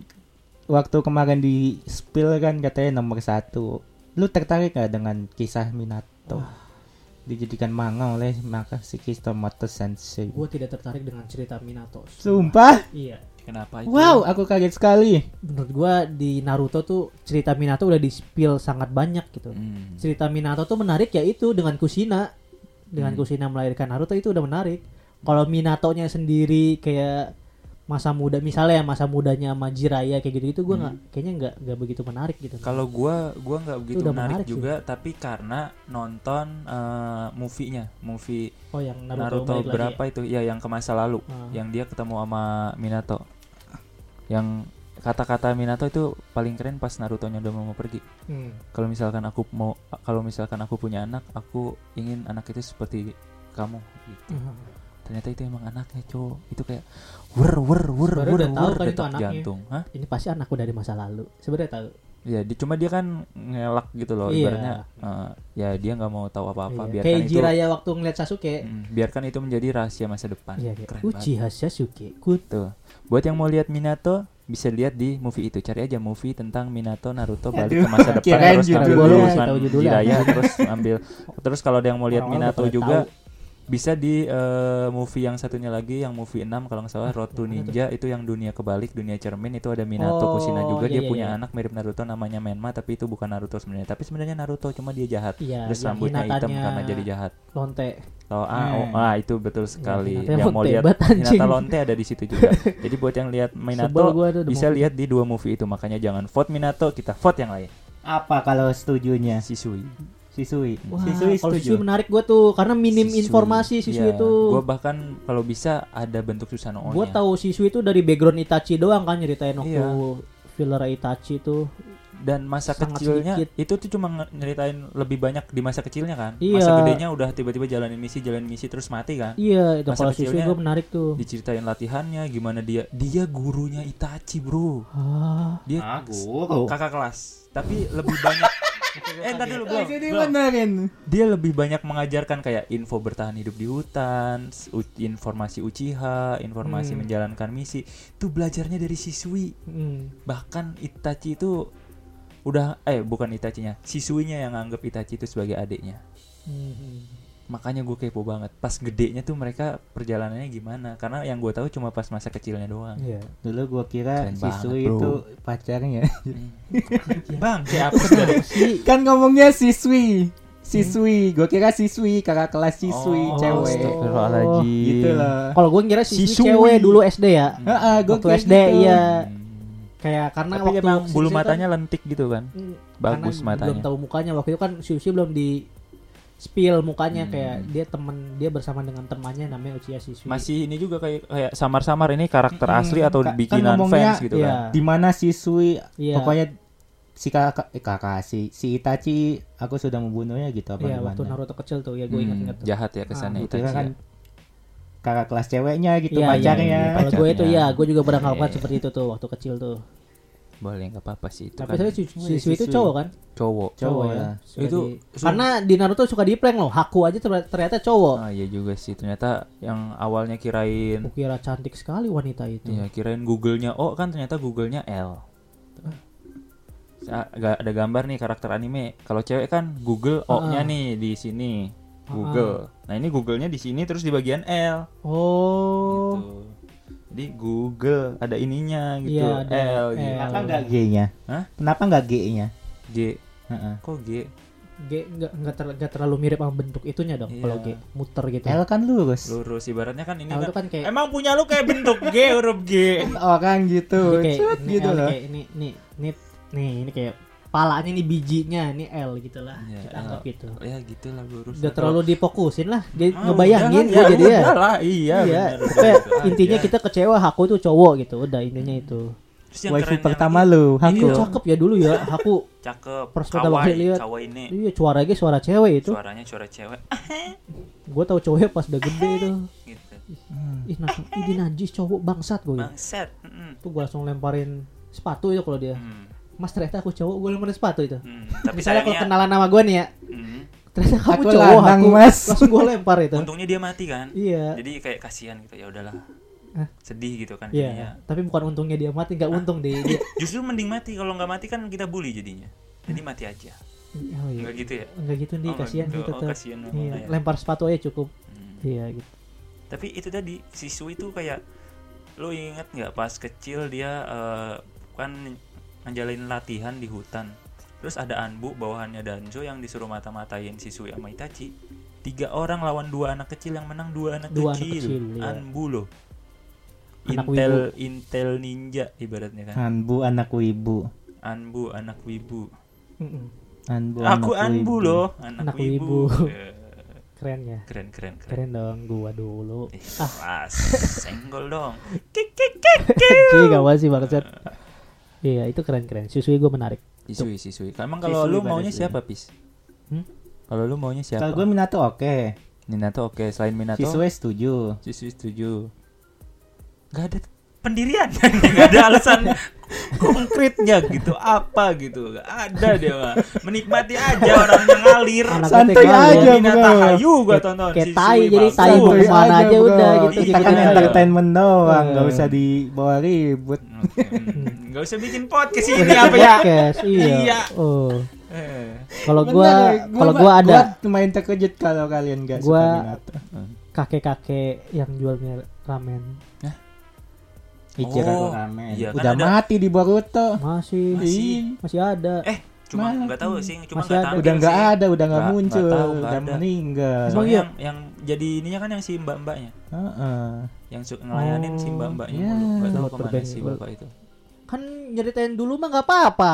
S4: waktu kemarin di spill kan katanya nomor satu. Lu tertarik gak dengan kisah Minato? Dijadikan manga oleh Masakista Moto Sensei.
S2: Gue tidak tertarik dengan cerita Minato.
S4: Sumpah?
S2: Iya.
S5: Kenapa itu?
S4: Wow, aku kaget sekali.
S2: Menurut gue di Naruto tuh cerita Minato udah di spill sangat banyak gitu.
S5: Hmm.
S2: Cerita Minato tuh menarik ya itu dengan Kushina. Dengan
S5: Hmm.
S2: Kushina melahirkan Naruto itu udah menarik. Kalau Minatonya sendiri kayak masa muda misalnya ya masa mudanya sama Jiraiya kayak gitu-gitu gue nggak kayaknya nggak nggak begitu menarik gitu.
S5: Kalau gua gua nggak begitu
S2: udah
S5: menarik,
S2: menarik sih.
S5: juga, tapi karena nonton eh, movie-nya, movie
S2: oh yang Naruto,
S5: Naruto,
S2: balik lagi
S5: berapa itu? Ya yang ke masa lalu,
S2: Ah.
S5: yang dia ketemu sama Minato. Yang kata-kata Minato itu paling keren pas Naruto-nya udah mau pergi.
S2: Hmm.
S5: Kalau misalkan aku mau kalau misalkan aku punya anak, aku ingin anak itu seperti kamu gitu. Ternyata itu emang anaknya, Cok. Itu kayak wer wer wer
S2: Baru
S5: wer
S2: udah tahu
S5: wer
S2: kan itu
S5: detak
S2: anaknya.
S5: jantung. Hah?
S2: Ini pasti anakku dari masa lalu. Sebenarnya tahu.
S5: Ya, di, cuma dia kan ngelak gitu loh
S2: Iya.
S5: ibaratnya. eh, ya dia nggak mau tahu apa-apa
S2: Iya.
S5: biarkan
S2: Kayak
S5: itu
S2: Jiraiya waktu ngeliat Sasuke.
S5: Mm, biarkan itu menjadi rahasia masa depan.
S2: Iya, kayak
S5: Keren banget.
S2: Uchiha Sasuke. Kun.
S5: Tuh. Buat yang mau lihat Minato bisa lihat di movie itu. Cari aja movie tentang Minato Naruto balik ke masa depan
S4: kirain
S5: terus ngambil
S2: judulnya.
S5: urusan
S2: Tahu judulnya.
S5: Jiraiya terus ambil terus kalau ada yang mau lihat
S2: Orang-orang udah
S5: Minato
S2: pada
S5: juga bisa di eh, movie yang satunya lagi yang movie 6 kalau nggak salah Road to
S2: yang mana
S5: Ninja itu yang dunia kebalik dunia cermin itu ada Minato
S2: Oh,
S5: Kushina juga
S2: iya,
S5: dia
S2: iya,
S5: punya
S2: iya.
S5: anak mirip Naruto namanya Menma tapi itu bukan Naruto sebenarnya tapi sebenarnya Naruto cuma dia jahat
S2: Iya,
S5: terus
S2: yang
S5: rambutnya hitam
S2: Hinatanya-
S5: karena jadi jahat
S2: Lonte.
S5: Oh, ah, oh,
S2: Hmm.
S5: ah, itu betul sekali.
S2: Hinata
S5: yang mau
S2: Lonte,
S5: lihat
S2: bat Iya, anjing.
S5: Hinata Lonte ada di situ juga. Jadi buat yang lihat
S2: Sebel
S5: Minato
S2: gua tuh,
S5: bisa
S2: demen.
S5: lihat di dua movie itu. Makanya jangan vote Minato, kita vote yang lain.
S4: Apa kalau setujunya?
S5: Si Sui.
S4: Sisui.
S2: Wah,
S4: Sisui
S2: kalau Shisui
S4: setuju.
S2: menarik gue tuh karena minim informasi Shisui itu.
S5: Gue Iya. bahkan kalau bisa ada bentuk Susanoo-nya.
S2: Gue tahu Shisui itu dari background Itachi doang kan ceritain waktu
S5: Iya.
S2: filler Itachi itu.
S5: Dan masa
S2: sangat
S5: kecilnya
S2: sedikit.
S5: itu tuh cuma nge- nyeritain lebih banyak di masa kecilnya kan. Masa
S2: Iya.
S5: gedenya udah tiba-tiba jalanin misi, jalanin misi terus mati kan.
S2: Iya, itu
S5: Masa
S2: kalau Shisui
S5: kecilnya
S2: gue menarik tuh.
S5: Diceritain latihannya, gimana dia dia gurunya Itachi, Bro.
S2: Ah,
S5: Dia
S3: Ah,
S4: guru.
S5: kakak kelas, tapi lebih banyak Eh, ntar dulu, belum, belum.
S4: benerin.
S5: dia lebih banyak mengajarkan kayak info bertahan hidup di hutan, s- u- informasi Uchiha, informasi
S2: Hmm.
S5: menjalankan misi. Itu belajarnya dari siswi.
S2: hmm.
S5: Bahkan Itachi itu udah eh bukan Itachinya, siswinya yang nganggep Itachi itu sebagai adiknya.
S2: Hmm.
S5: Makanya gue kepo banget. Pas gedenya tuh mereka perjalanannya gimana? Karena yang gue tahu cuma pas masa kecilnya doang.
S2: Iya.
S4: Dulu gua kira
S5: Keren banget,
S4: Sisui
S5: bro.
S4: itu pacarnya.
S5: Hmm. Bang, kayak apa sih?
S2: Si
S4: kan ngomongnya siswi. Siswi, gua kira siswi kakak kelas siswi
S5: Oh,
S4: cewek.
S5: astagfirullahaladzim.
S4: Gitu loh.
S2: kalau gue ngira Shisui,
S5: Shisui.
S2: cewek dulu SD ya.
S4: Heeh, gua
S2: waktu
S4: kira
S2: SD
S4: gitu.
S2: iya.
S5: Hmm.
S2: Kayak karena
S5: Tapi
S2: waktu
S5: emang bulu
S2: Shisui kan-
S5: matanya lentik gitu kan.
S2: Hmm,
S5: Bagus
S2: karena belum
S5: matanya.
S2: tahu mukanya waktu itu kan Shisui belum di spill mukanya
S5: Hmm.
S2: kayak dia temen dia bersama dengan temannya namanya Uchiha Shisui.
S5: masih ini juga kayak kayak samar-samar ini karakter
S4: Mm-mm.
S5: asli atau
S4: Ka- kan
S5: bikinan
S4: ngomongnya-
S5: fans gitu kan.
S2: Iya.
S4: Di mana siswi
S2: Iya.
S4: pokoknya si kakak eh, kakak si si Itachi aku sudah membunuhnya gitu apa
S2: Iya,
S4: gimana.
S2: waktu Naruto kecil tuh ya gue
S5: Hmm,
S2: ingat-ingat tuh. Ah,
S5: jahat ya kesannya
S4: Gua
S5: Itachi
S4: kira
S5: ya.
S4: kan kakak kelas ceweknya gitu
S2: Iya,
S4: pacarnya.
S5: iya, iya.
S2: Kalau gue itu
S5: pacarnya.
S2: ya, gue juga pernah ngelakukan
S5: Iya.
S2: seperti itu tuh waktu kecil tuh.
S5: Boleh nggak apa-apa sih itu
S2: Tapi
S5: kan
S2: saya si, si
S4: Wih,
S2: Sui itu
S4: si Sui.
S2: cowok kan?
S5: cowok.
S4: Cowok ya.
S2: Suka
S5: Itu
S2: di- karena di Naruto suka di prank loh. Haku aja ter- ternyata cowok.
S5: Ah iya juga sih ternyata yang awalnya kirain
S2: Kukira cantik sekali wanita itu.
S5: ya kirain Google-nya oh kan ternyata Google-nya L. Sa- ga- ada gambar nih karakter anime. Kalau cewek kan Google
S2: Ah.
S5: O-nya nih di sini. Google. Nah, ini Google-nya di sini terus di bagian L.
S2: Oh.
S5: Gitu. Jadi Google ada ininya gitu.
S2: Iya, ada
S5: L gitu.
S2: L.
S4: Kenapa nggak G-nya?
S5: Hah?
S4: Kenapa nggak G-nya?
S5: G.
S4: Heeh.
S5: Kok G?
S2: G enggak enggak, terlalu mirip sama bentuk itunya dong
S5: Iya.
S2: kalau G muter gitu.
S4: L kan lurus.
S5: Lurus ibaratnya kan ini
S2: L itu
S5: kan.
S2: kan kayak
S5: Emang punya lu kayak bentuk G huruf G.
S4: Orang gitu,
S2: Jadi kayak
S4: cut
S2: ini
S4: gitu
S2: L
S4: loh.
S2: kayak ini nih nih nih ini kayak palanya ini bijinya ini L gitu lah.
S5: Iya,
S2: Kita
S5: L.
S2: anggap gitu.
S5: Ya gitulah lurus.
S2: Udah terlalu difokusin lah. Jadi
S5: Ah,
S2: ngebayangin
S5: udah
S2: gue
S5: lah,
S2: jadi ya.
S5: udah lah, iya.
S2: Iya.
S5: bener, Hmm. udah
S2: Kayak
S5: gitu aja.
S2: intinya kita kecewa Haku tuh cowok gitu. Udah intinya itu.
S5: Terus yang
S4: Waifu
S5: kerennya
S4: pertama
S5: lagi,
S4: lu,
S2: Haku
S4: Haku.
S2: cakep ya dulu ya. Haku
S5: Cakep.
S2: Pas pertama
S5: Kawaii,
S2: kali lihat.
S5: kawaii ini.
S2: iya suaranya suara cewek itu.
S5: Suaranya suara cewek Ah,
S2: Gue tahu cowoknya pas udah gede itu.
S5: gitu.
S2: Ih, nah, ini najis cowok bangsat gue.
S5: Bangset. Mm-mm.
S2: Tuh gue langsung lemparin sepatu itu kalau dia.
S5: Hmm,
S2: Mas ternyata aku cowok gue lemparin sepatu itu.
S5: hmm. Tapi
S2: Misalnya kalau
S5: sayangnya
S2: kenalan nama gue nih ya,
S5: mm,
S2: ternyata kamu
S4: Aku
S2: cowok
S4: lanang,
S2: aku
S4: Mas.
S2: langsung gue lempar itu.
S5: untungnya dia mati kan.
S2: Iya.
S5: Jadi kayak kasihan gitu ya udahlah.
S2: Hah?
S3: sedih gitu kan
S2: Iya,
S3: jadinya.
S2: tapi bukan untungnya dia mati, nggak untung dia. dia-
S3: Justru mending mati kalau nggak mati kan kita bully jadinya. Jadi mati aja.
S2: oh iya.
S3: Nggak gitu ya?
S2: Enggak gitu nih,
S3: Oh, nggak
S2: kasihan
S3: gitu.
S2: sih
S3: Oh,
S2: tetap.
S3: kasihan memang
S2: iya,
S3: ya.
S2: lempar sepatu aja cukup.
S5: Mm.
S3: Hmm.
S2: Iya gitu.
S3: Tapi itu tadi siswi itu kayak lu inget nggak pas kecil dia eh, kan ngejalin latihan di hutan. Terus ada Anbu bawahannya Danzo yang disuruh mata-matain siswi sama Itachi. Tiga orang lawan dua anak kecil yang menang dua anak
S2: Dua anak kecil,
S3: kecil.
S2: iya.
S3: Anbu loh.
S2: Anak
S3: Intel Intel ninja ibaratnya kan.
S4: Anbu anak wibu.
S3: Anbu anak wibu.
S2: Mm-mm.
S4: Anbu
S3: Aku Anbu
S4: anak wibu.
S3: loh, anak,
S2: Anak
S3: wibu.
S2: wibu.
S3: Eh,
S2: Keren ya.
S3: Keren keren keren.
S2: Keren Ah. dong gua dulu.
S3: Ih, Pas senggol dong. Kik kik.
S2: Jadi gak apa sih bangsat. Iya, itu keren-keren. Siswi gua menarik.
S5: Siswi siswi. Emang kalau
S4: Siswi
S5: lu
S4: pada
S5: maunya
S4: sini.
S5: siapa pis?
S2: Hmm?
S5: Kalau lu maunya siapa?
S4: Kalau gue Minato oke.
S5: Minato oke. Selain Minato.
S4: Siswa setuju.
S5: Siswi setuju. Gak ada.
S3: pendirian nggak ada alasan konkretnya gitu apa gitu nggak ada dia mah menikmati aja orangnya ngalir
S2: Anak
S4: Santai
S2: TK lu.
S4: aja,
S3: Minata
S4: bro.
S3: Hayu gua
S2: Kayak-
S3: tonton
S2: kayak
S3: si
S2: tai,
S3: Sui
S2: jadi
S3: Bangsu.
S2: tai mau
S4: Santuy
S2: kemana aja
S4: bro.
S2: udah gitu,
S4: Kita kan
S2: gitu aja.
S4: entertainment doang, nggak
S2: Hmm.
S4: usah dibawa ribut.
S3: Oke, hmm, nggak usah bikin podcast ini
S4: Iya.
S3: apa ya
S2: Podcast, iya.
S3: Iya.
S2: Oh.
S3: Eh,
S2: Kalau
S4: Bener,
S2: gua kalau
S4: ma-
S2: gua ada
S4: gua main terkejut kalau kalian nggak suka
S2: Gua-
S4: Minato.
S2: kakek-kakek yang jual mie ramen
S4: Ichiro
S3: Oh,
S4: Ramen.
S3: iya, kan
S4: Udah
S3: ada-
S4: mati di Boruto.
S2: masih
S3: Masih.
S2: masih ada.
S3: eh cuma
S4: Mana
S3: nggak tahu sih cuma nggak
S2: Masih ada.
S3: tampil
S4: Udah nggak
S3: sih.
S4: ada, udah nggak
S5: Nggak- nggak
S4: muncul,
S5: tahu, nggak
S4: udah
S5: ada.
S4: meninggal.
S3: Soalnya
S2: iya?
S3: yang yang jadi ininya kan yang si mbak mbaknya
S4: Heeh.
S3: yang suka ngelayanin si mbak mbaknya
S4: iya.
S3: mulu nggak tahu
S2: Buat
S3: kemana
S2: berband-
S3: si bapak itu
S2: Kan nyeritain dulu mah nggak apa-apa.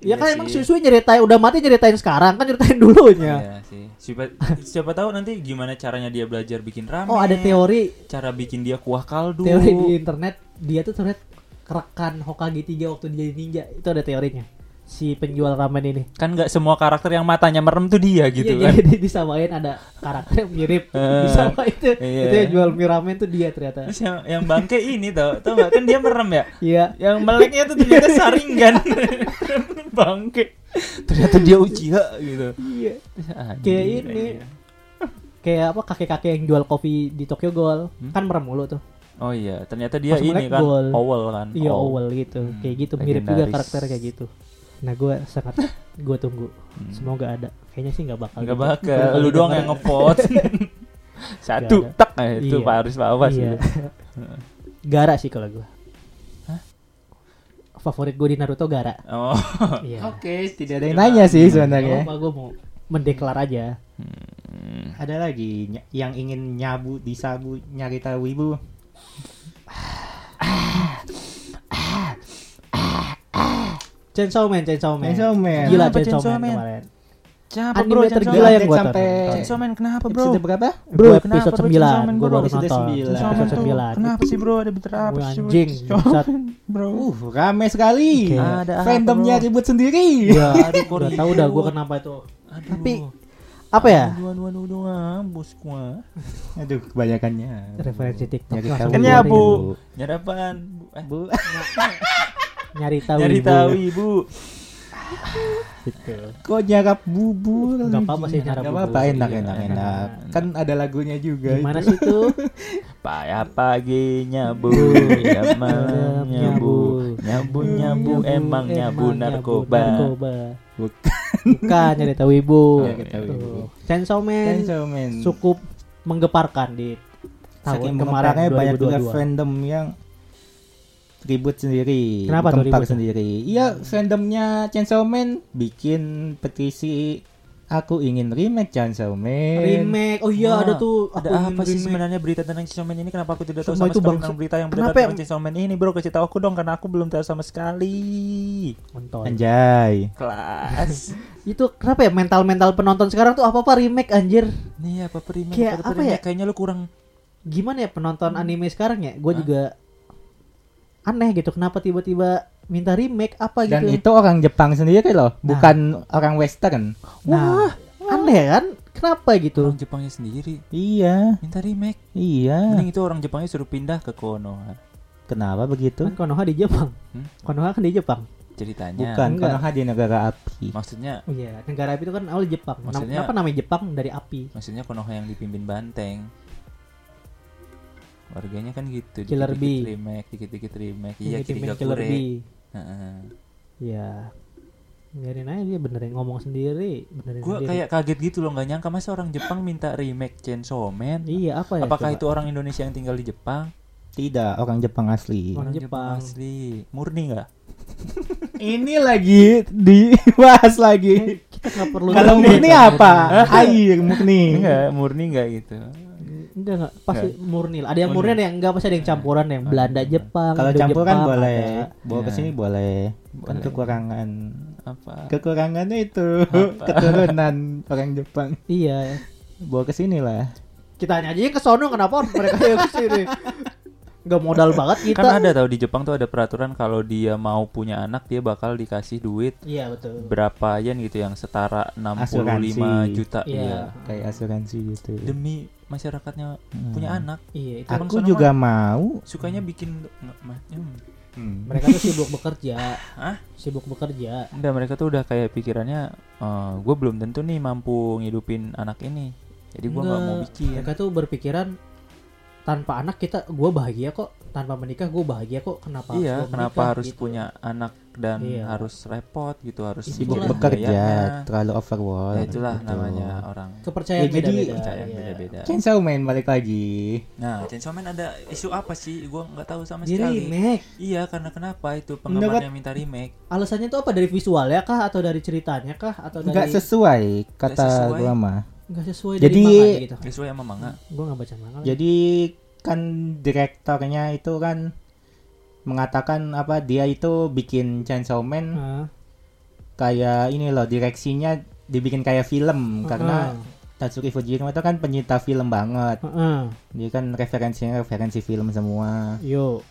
S2: Ya
S5: Iya
S2: kan emang
S5: sih.
S2: Siswi nyeritain udah mati nyeritain sekarang kan nyeritain dulunya.
S5: Iya sih.
S3: siapa siapa tahu nanti gimana caranya dia belajar bikin
S5: Iya.
S3: ramen
S2: Oh ada teori
S5: Cara bikin dia kuah kaldu.
S2: teori di internet dia tuh ternyata rekan Hokage 3 waktu dia jadi ninja itu ada teorinya si penjual ramen ini.
S5: Kan nggak semua karakter yang matanya merem tuh dia gitu
S2: Iya,
S5: kan. Eh.
S2: jadi disamain ada karakter yang mirip disama itu
S5: iya.
S2: itu yang jual mie ramen tuh dia ternyata.
S5: Terus yang, yang bangke ini tau, tau nggak kan dia merem ya?
S2: Iya.
S5: Yang meleknya tuh ternyata saringan Bangke Ternyata dia Uchiha gitu
S2: Iya.
S5: Ah,
S2: Kayak
S5: anjing.
S2: ini. Kayak apa kakek-kakek yang jual kopi di Tokyo Gold
S5: Hmm?
S2: kan merem mulu tuh.
S5: Oh iya, ternyata dia
S2: Pas
S5: ini
S2: melek
S5: kan
S2: gol.
S5: Owl kan
S2: Iya
S5: Owl.
S2: Owl gitu.
S5: Hmm,
S2: Kayak gitu mirip juga
S5: legendaris.
S2: karakter kayak gitu. Nah, gua sangat gua tunggu.
S5: Hmm.
S2: Semoga ada. Kayaknya sih nggak bakal.
S5: Nggak
S2: gitu.
S5: bakal, lu doang yang ngevote Satu,
S2: Nggak ada.
S5: tak, nah, itu
S2: Iya.
S5: Pak Aris Pak Awas
S2: Iya.
S5: gitu.
S2: Gara sih kalau gua.
S5: Hah?
S2: Favorit gua di Naruto Gara.
S5: Oh,
S2: Iya.
S4: Oke, tidak ada yang nanya sih
S2: Kalau
S4: sebenarnya.
S2: apa gua mau mendeklar aja.
S4: Ada lagi ny- yang ingin nyabu disabu nyari tahu ibu.
S2: Chainsaw Man, Chainsaw Man.
S4: Chainsaw Man.
S2: Gila
S5: Kenapa
S2: Chainsaw,
S5: Chainsaw
S2: Man
S5: Man?
S2: kemarin.
S5: Capek
S2: Anime tergila
S4: Man.
S2: yang gua
S4: Sampai-
S2: tonton.
S5: Chainsaw Man kenapa bro?
S4: Episode berapa?
S2: Bro,
S5: Gua
S2: episode
S5: kenapa, bro?
S2: 9
S5: Chainsaw Man,
S2: Gua
S5: bro?
S2: baru
S4: Episode
S2: nonton
S4: sembilan.
S5: Chainsaw Man tuh,
S2: Episode 9
S5: Kenapa sih bro? Ada bentar apa sih bro?
S2: Anjing,
S5: Chainsaw
S2: bangsat.
S5: Man, Bro
S4: Uh, rame sekali.
S2: Oke.
S5: Ada apa,
S4: Fandomnya
S5: Bro?
S4: ribut sendiri.
S2: Ya,
S5: Aduh, kok
S2: udah tahu
S5: ribut.
S2: dah gua kenapa itu.
S5: Aduh.
S2: Tapi apa ya?
S5: Aduh, aduh, aduh, aduh, ngabus gua.
S4: Aduh, kebanyakannya.
S2: Referensi TikTok
S4: Nyari
S2: langsung
S4: tahu. ya,
S2: gua
S5: Kenyap, Bu.
S2: dengerin.
S5: Nyari apaan? Bu? Eh,
S4: Bu.
S2: Nyari tahu.
S5: nyari
S2: ibu.
S5: tahu iya. ibu.
S2: Gitu.
S4: Kok nyarap bubur?
S2: Nggak apa-apa sih nyarap
S4: Nggak
S2: bubur.
S4: apa-apa, enak,
S5: Iya,
S4: enak,
S5: enak.
S4: enak. Kan ada lagunya juga.
S2: Gimana
S4: itu.
S2: sih itu?
S5: Payah pagi nyabu, ya malam
S2: Malam
S5: nyabu,
S2: nyabu.
S5: nyabu nyabu emang nyabu narkoba.
S4: Bukan.
S2: Bukan nyari tahu ibu. Gitu.
S4: Nyari tahu
S2: Tuh.
S4: ibu.
S2: Chainsaw Man
S4: Chainsaw Man.
S2: cukup menggeparkan di tahun
S4: Saking
S2: kemarin
S4: mengepaknya banyak juga
S2: 2022.
S4: fandom yang ribut sendiri,
S2: Kenapa tuh
S4: gempar
S2: ribut?
S4: sendiri. Iya, fandomnya Chainsaw Man bikin petisi aku ingin remake Chainsaw Man.
S2: Remake. Oh iya
S5: Wah,
S2: ada tuh. Aku
S5: Ada apa
S2: ingin
S5: sih
S2: remake.
S5: sebenarnya berita tentang Chainsaw Man ini? Kenapa aku tidak tahu
S2: Sumpah
S5: sama
S2: itu
S5: sekali
S2: bangsa-
S5: tentang berita yang
S2: Kenapa
S5: beredar tentang
S2: yang-
S5: Chainsaw Man ini, bro? Kasih tahu aku dong, karena aku belum tahu sama sekali.
S2: Kontol.
S4: Anjay.
S5: Kelas.
S2: Itu kenapa ya mental-mental penonton sekarang tuh apa-apa remake anjir.
S5: Nih apa remake?
S2: Kayak
S5: apa
S2: apa
S5: remake?
S2: ya?
S5: Kayaknya lu kurang
S2: Gimana ya penonton
S5: Hmm.
S2: anime sekarang ya? Gue juga aneh gitu. Kenapa tiba-tiba minta remake apa gitu?
S4: Dan itu orang Jepang sendiri loh, bukan orang western.
S2: nah, aneh kan? Kenapa gitu?
S5: orang Jepangnya sendiri.
S4: Iya,
S5: Minta remake.
S4: iya.
S5: Mending itu orang Jepangnya suruh pindah ke Konoha
S4: Kenapa begitu?
S2: Kan Konoha di Jepang.
S5: gitu. Hmm?
S2: Konoha kan di Jepang.
S5: ceritanya.
S4: Bukan
S2: Enggak.
S4: Konoha di negara api.
S5: Maksudnya
S2: Iya, negara api itu kan awal Jepang. Nam-
S5: Maksudnya-
S2: Kenapa namanya Jepang dari api?
S5: maksudnya Konoha yang dipimpin Banteng. Origanya kan gitu.
S2: Killer
S5: dikit-dikit
S2: Bee.
S5: remake, dikit-dikit remake.
S2: Yang
S5: Iya,
S2: ditimpin
S5: kiri
S2: Killer
S5: Gakure.
S2: Bee.
S5: Heeh.
S2: Ya. Biarin aja dia benerin ngomong sendiri, benerin
S5: Gua
S2: sendiri.
S5: kayak kaget gitu loh, nggak nyangka masa orang Jepang minta remake Chainsaw Man.
S2: Iya, apa ya?
S5: Apakah
S2: coba?
S5: itu orang Indonesia yang tinggal di Jepang?
S4: Tidak, orang Jepang asli.
S2: Orang Jepang.
S5: asli. Murni nggak?
S4: Ini lagi dibahas lagi.
S2: kita nggak perlu
S4: Kalau
S2: tahu
S4: murni kan
S2: ya.
S4: apa? Air murni.
S5: Enggak, murni nggak gitu.
S2: Enggak enggak, pasti murni lah. Ada yang murni, ada yang enggak, pasti ada yang campuran, ada yang Belanda, Jepang,
S4: Kalau
S2: Indo
S4: campur
S2: Jepang, ya.
S4: kan boleh,
S2: ada.
S4: bawa ke sini boleh. Untuk kekurangan
S5: Apa?
S4: kekurangannya itu keturunan orang Jepang.
S2: Iya.
S4: Bawa ke sini lah.
S2: Kita hanya aja ke sono kenapa mereka yang ke sini. Enggak modal banget kita.
S5: Kan ada tahu di Jepang tuh ada peraturan kalau dia mau punya anak dia bakal dikasih duit
S2: Iya, betul.
S5: berapa yen gitu yang setara 65
S4: Asuransi.
S5: juta
S2: Iya.
S5: iya.
S4: Kayak asuransi gitu. Hmm.
S5: demi masyarakatnya punya anak
S2: Iya, itu
S5: Orang
S4: Aku
S5: sana
S4: juga mau.
S5: sukanya bikin nggak ma- hmm.
S2: mereka tuh sibuk bekerja.
S5: Hah?
S2: Sibuk bekerja.
S5: Nggak, mereka tuh udah kayak pikirannya gue belum tentu nih mampu ngidupin anak ini jadi gue nggak mau
S2: Nggak,
S5: bikin
S2: Mereka tuh berpikiran tanpa anak kita gua bahagia kok, tanpa menikah gua bahagia kok. Kenapa harus
S5: iya
S2: gua
S5: kenapa
S2: menikah,
S5: harus
S2: gitu.
S5: punya anak dan
S2: Iya. ya,
S5: harus repot gitu harus
S4: Sibuk
S5: mikirin
S4: bekerja,
S5: biayanya.
S4: terlalu overwork.
S5: ya itulah
S4: gitu.
S5: namanya orang
S2: kepercayaan
S4: Ya, jadi-
S2: beda-beda.
S5: percaya
S2: iya.
S5: beda-beda
S4: Chainsaw main balik lagi.
S5: nah Chainsaw Man ada isu apa sih gue nggak tahu sama
S2: Jadi
S5: sekali
S2: remake.
S5: iya karena kenapa itu
S4: Mendapat-
S5: penggemarnya yang minta remake
S2: Alasannya itu apa dari visualnya kah atau dari ceritanya kah atau dari
S4: Enggak sesuai kata
S5: sesuai.
S4: gua mah.
S2: nggak sesuai
S4: Jadi-
S2: dari manga gitu.
S5: sesuai sama manga
S2: Gua nggak baca manga. lagi.
S4: Jadi kan direktornya itu kan mengatakan apa dia itu bikin Chainsaw
S5: Hmm.
S4: Man
S2: Hah?
S4: kayak ini loh direksinya dibikin kayak film
S5: Hmm.
S4: karena Tatsuki Fujiyama itu kan penyita film banget.
S2: Heeh. Heeh.
S4: Dia kan referensinya referensi film semua.
S2: yo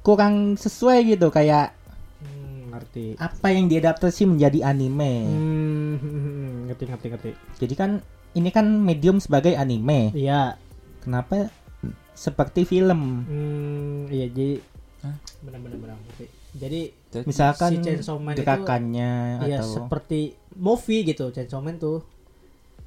S4: Kurang sesuai gitu kayak
S2: Hmm, ngerti.
S4: apa yang diadaptasi menjadi anime.
S2: Hmm, ngerti ngerti ngerti.
S4: Jadi kan ini kan medium sebagai anime.
S2: Iya.
S4: Kenapa seperti film?
S2: Hmm, iya jadi
S5: Hah?
S2: benar-benar benar ngerti. Jadi
S5: Jadi-
S4: Misalkan
S2: Si Chainsaw Man itu-
S4: gerakannya
S2: Iya
S4: atau
S2: seperti movie gitu Chainsaw Man tuh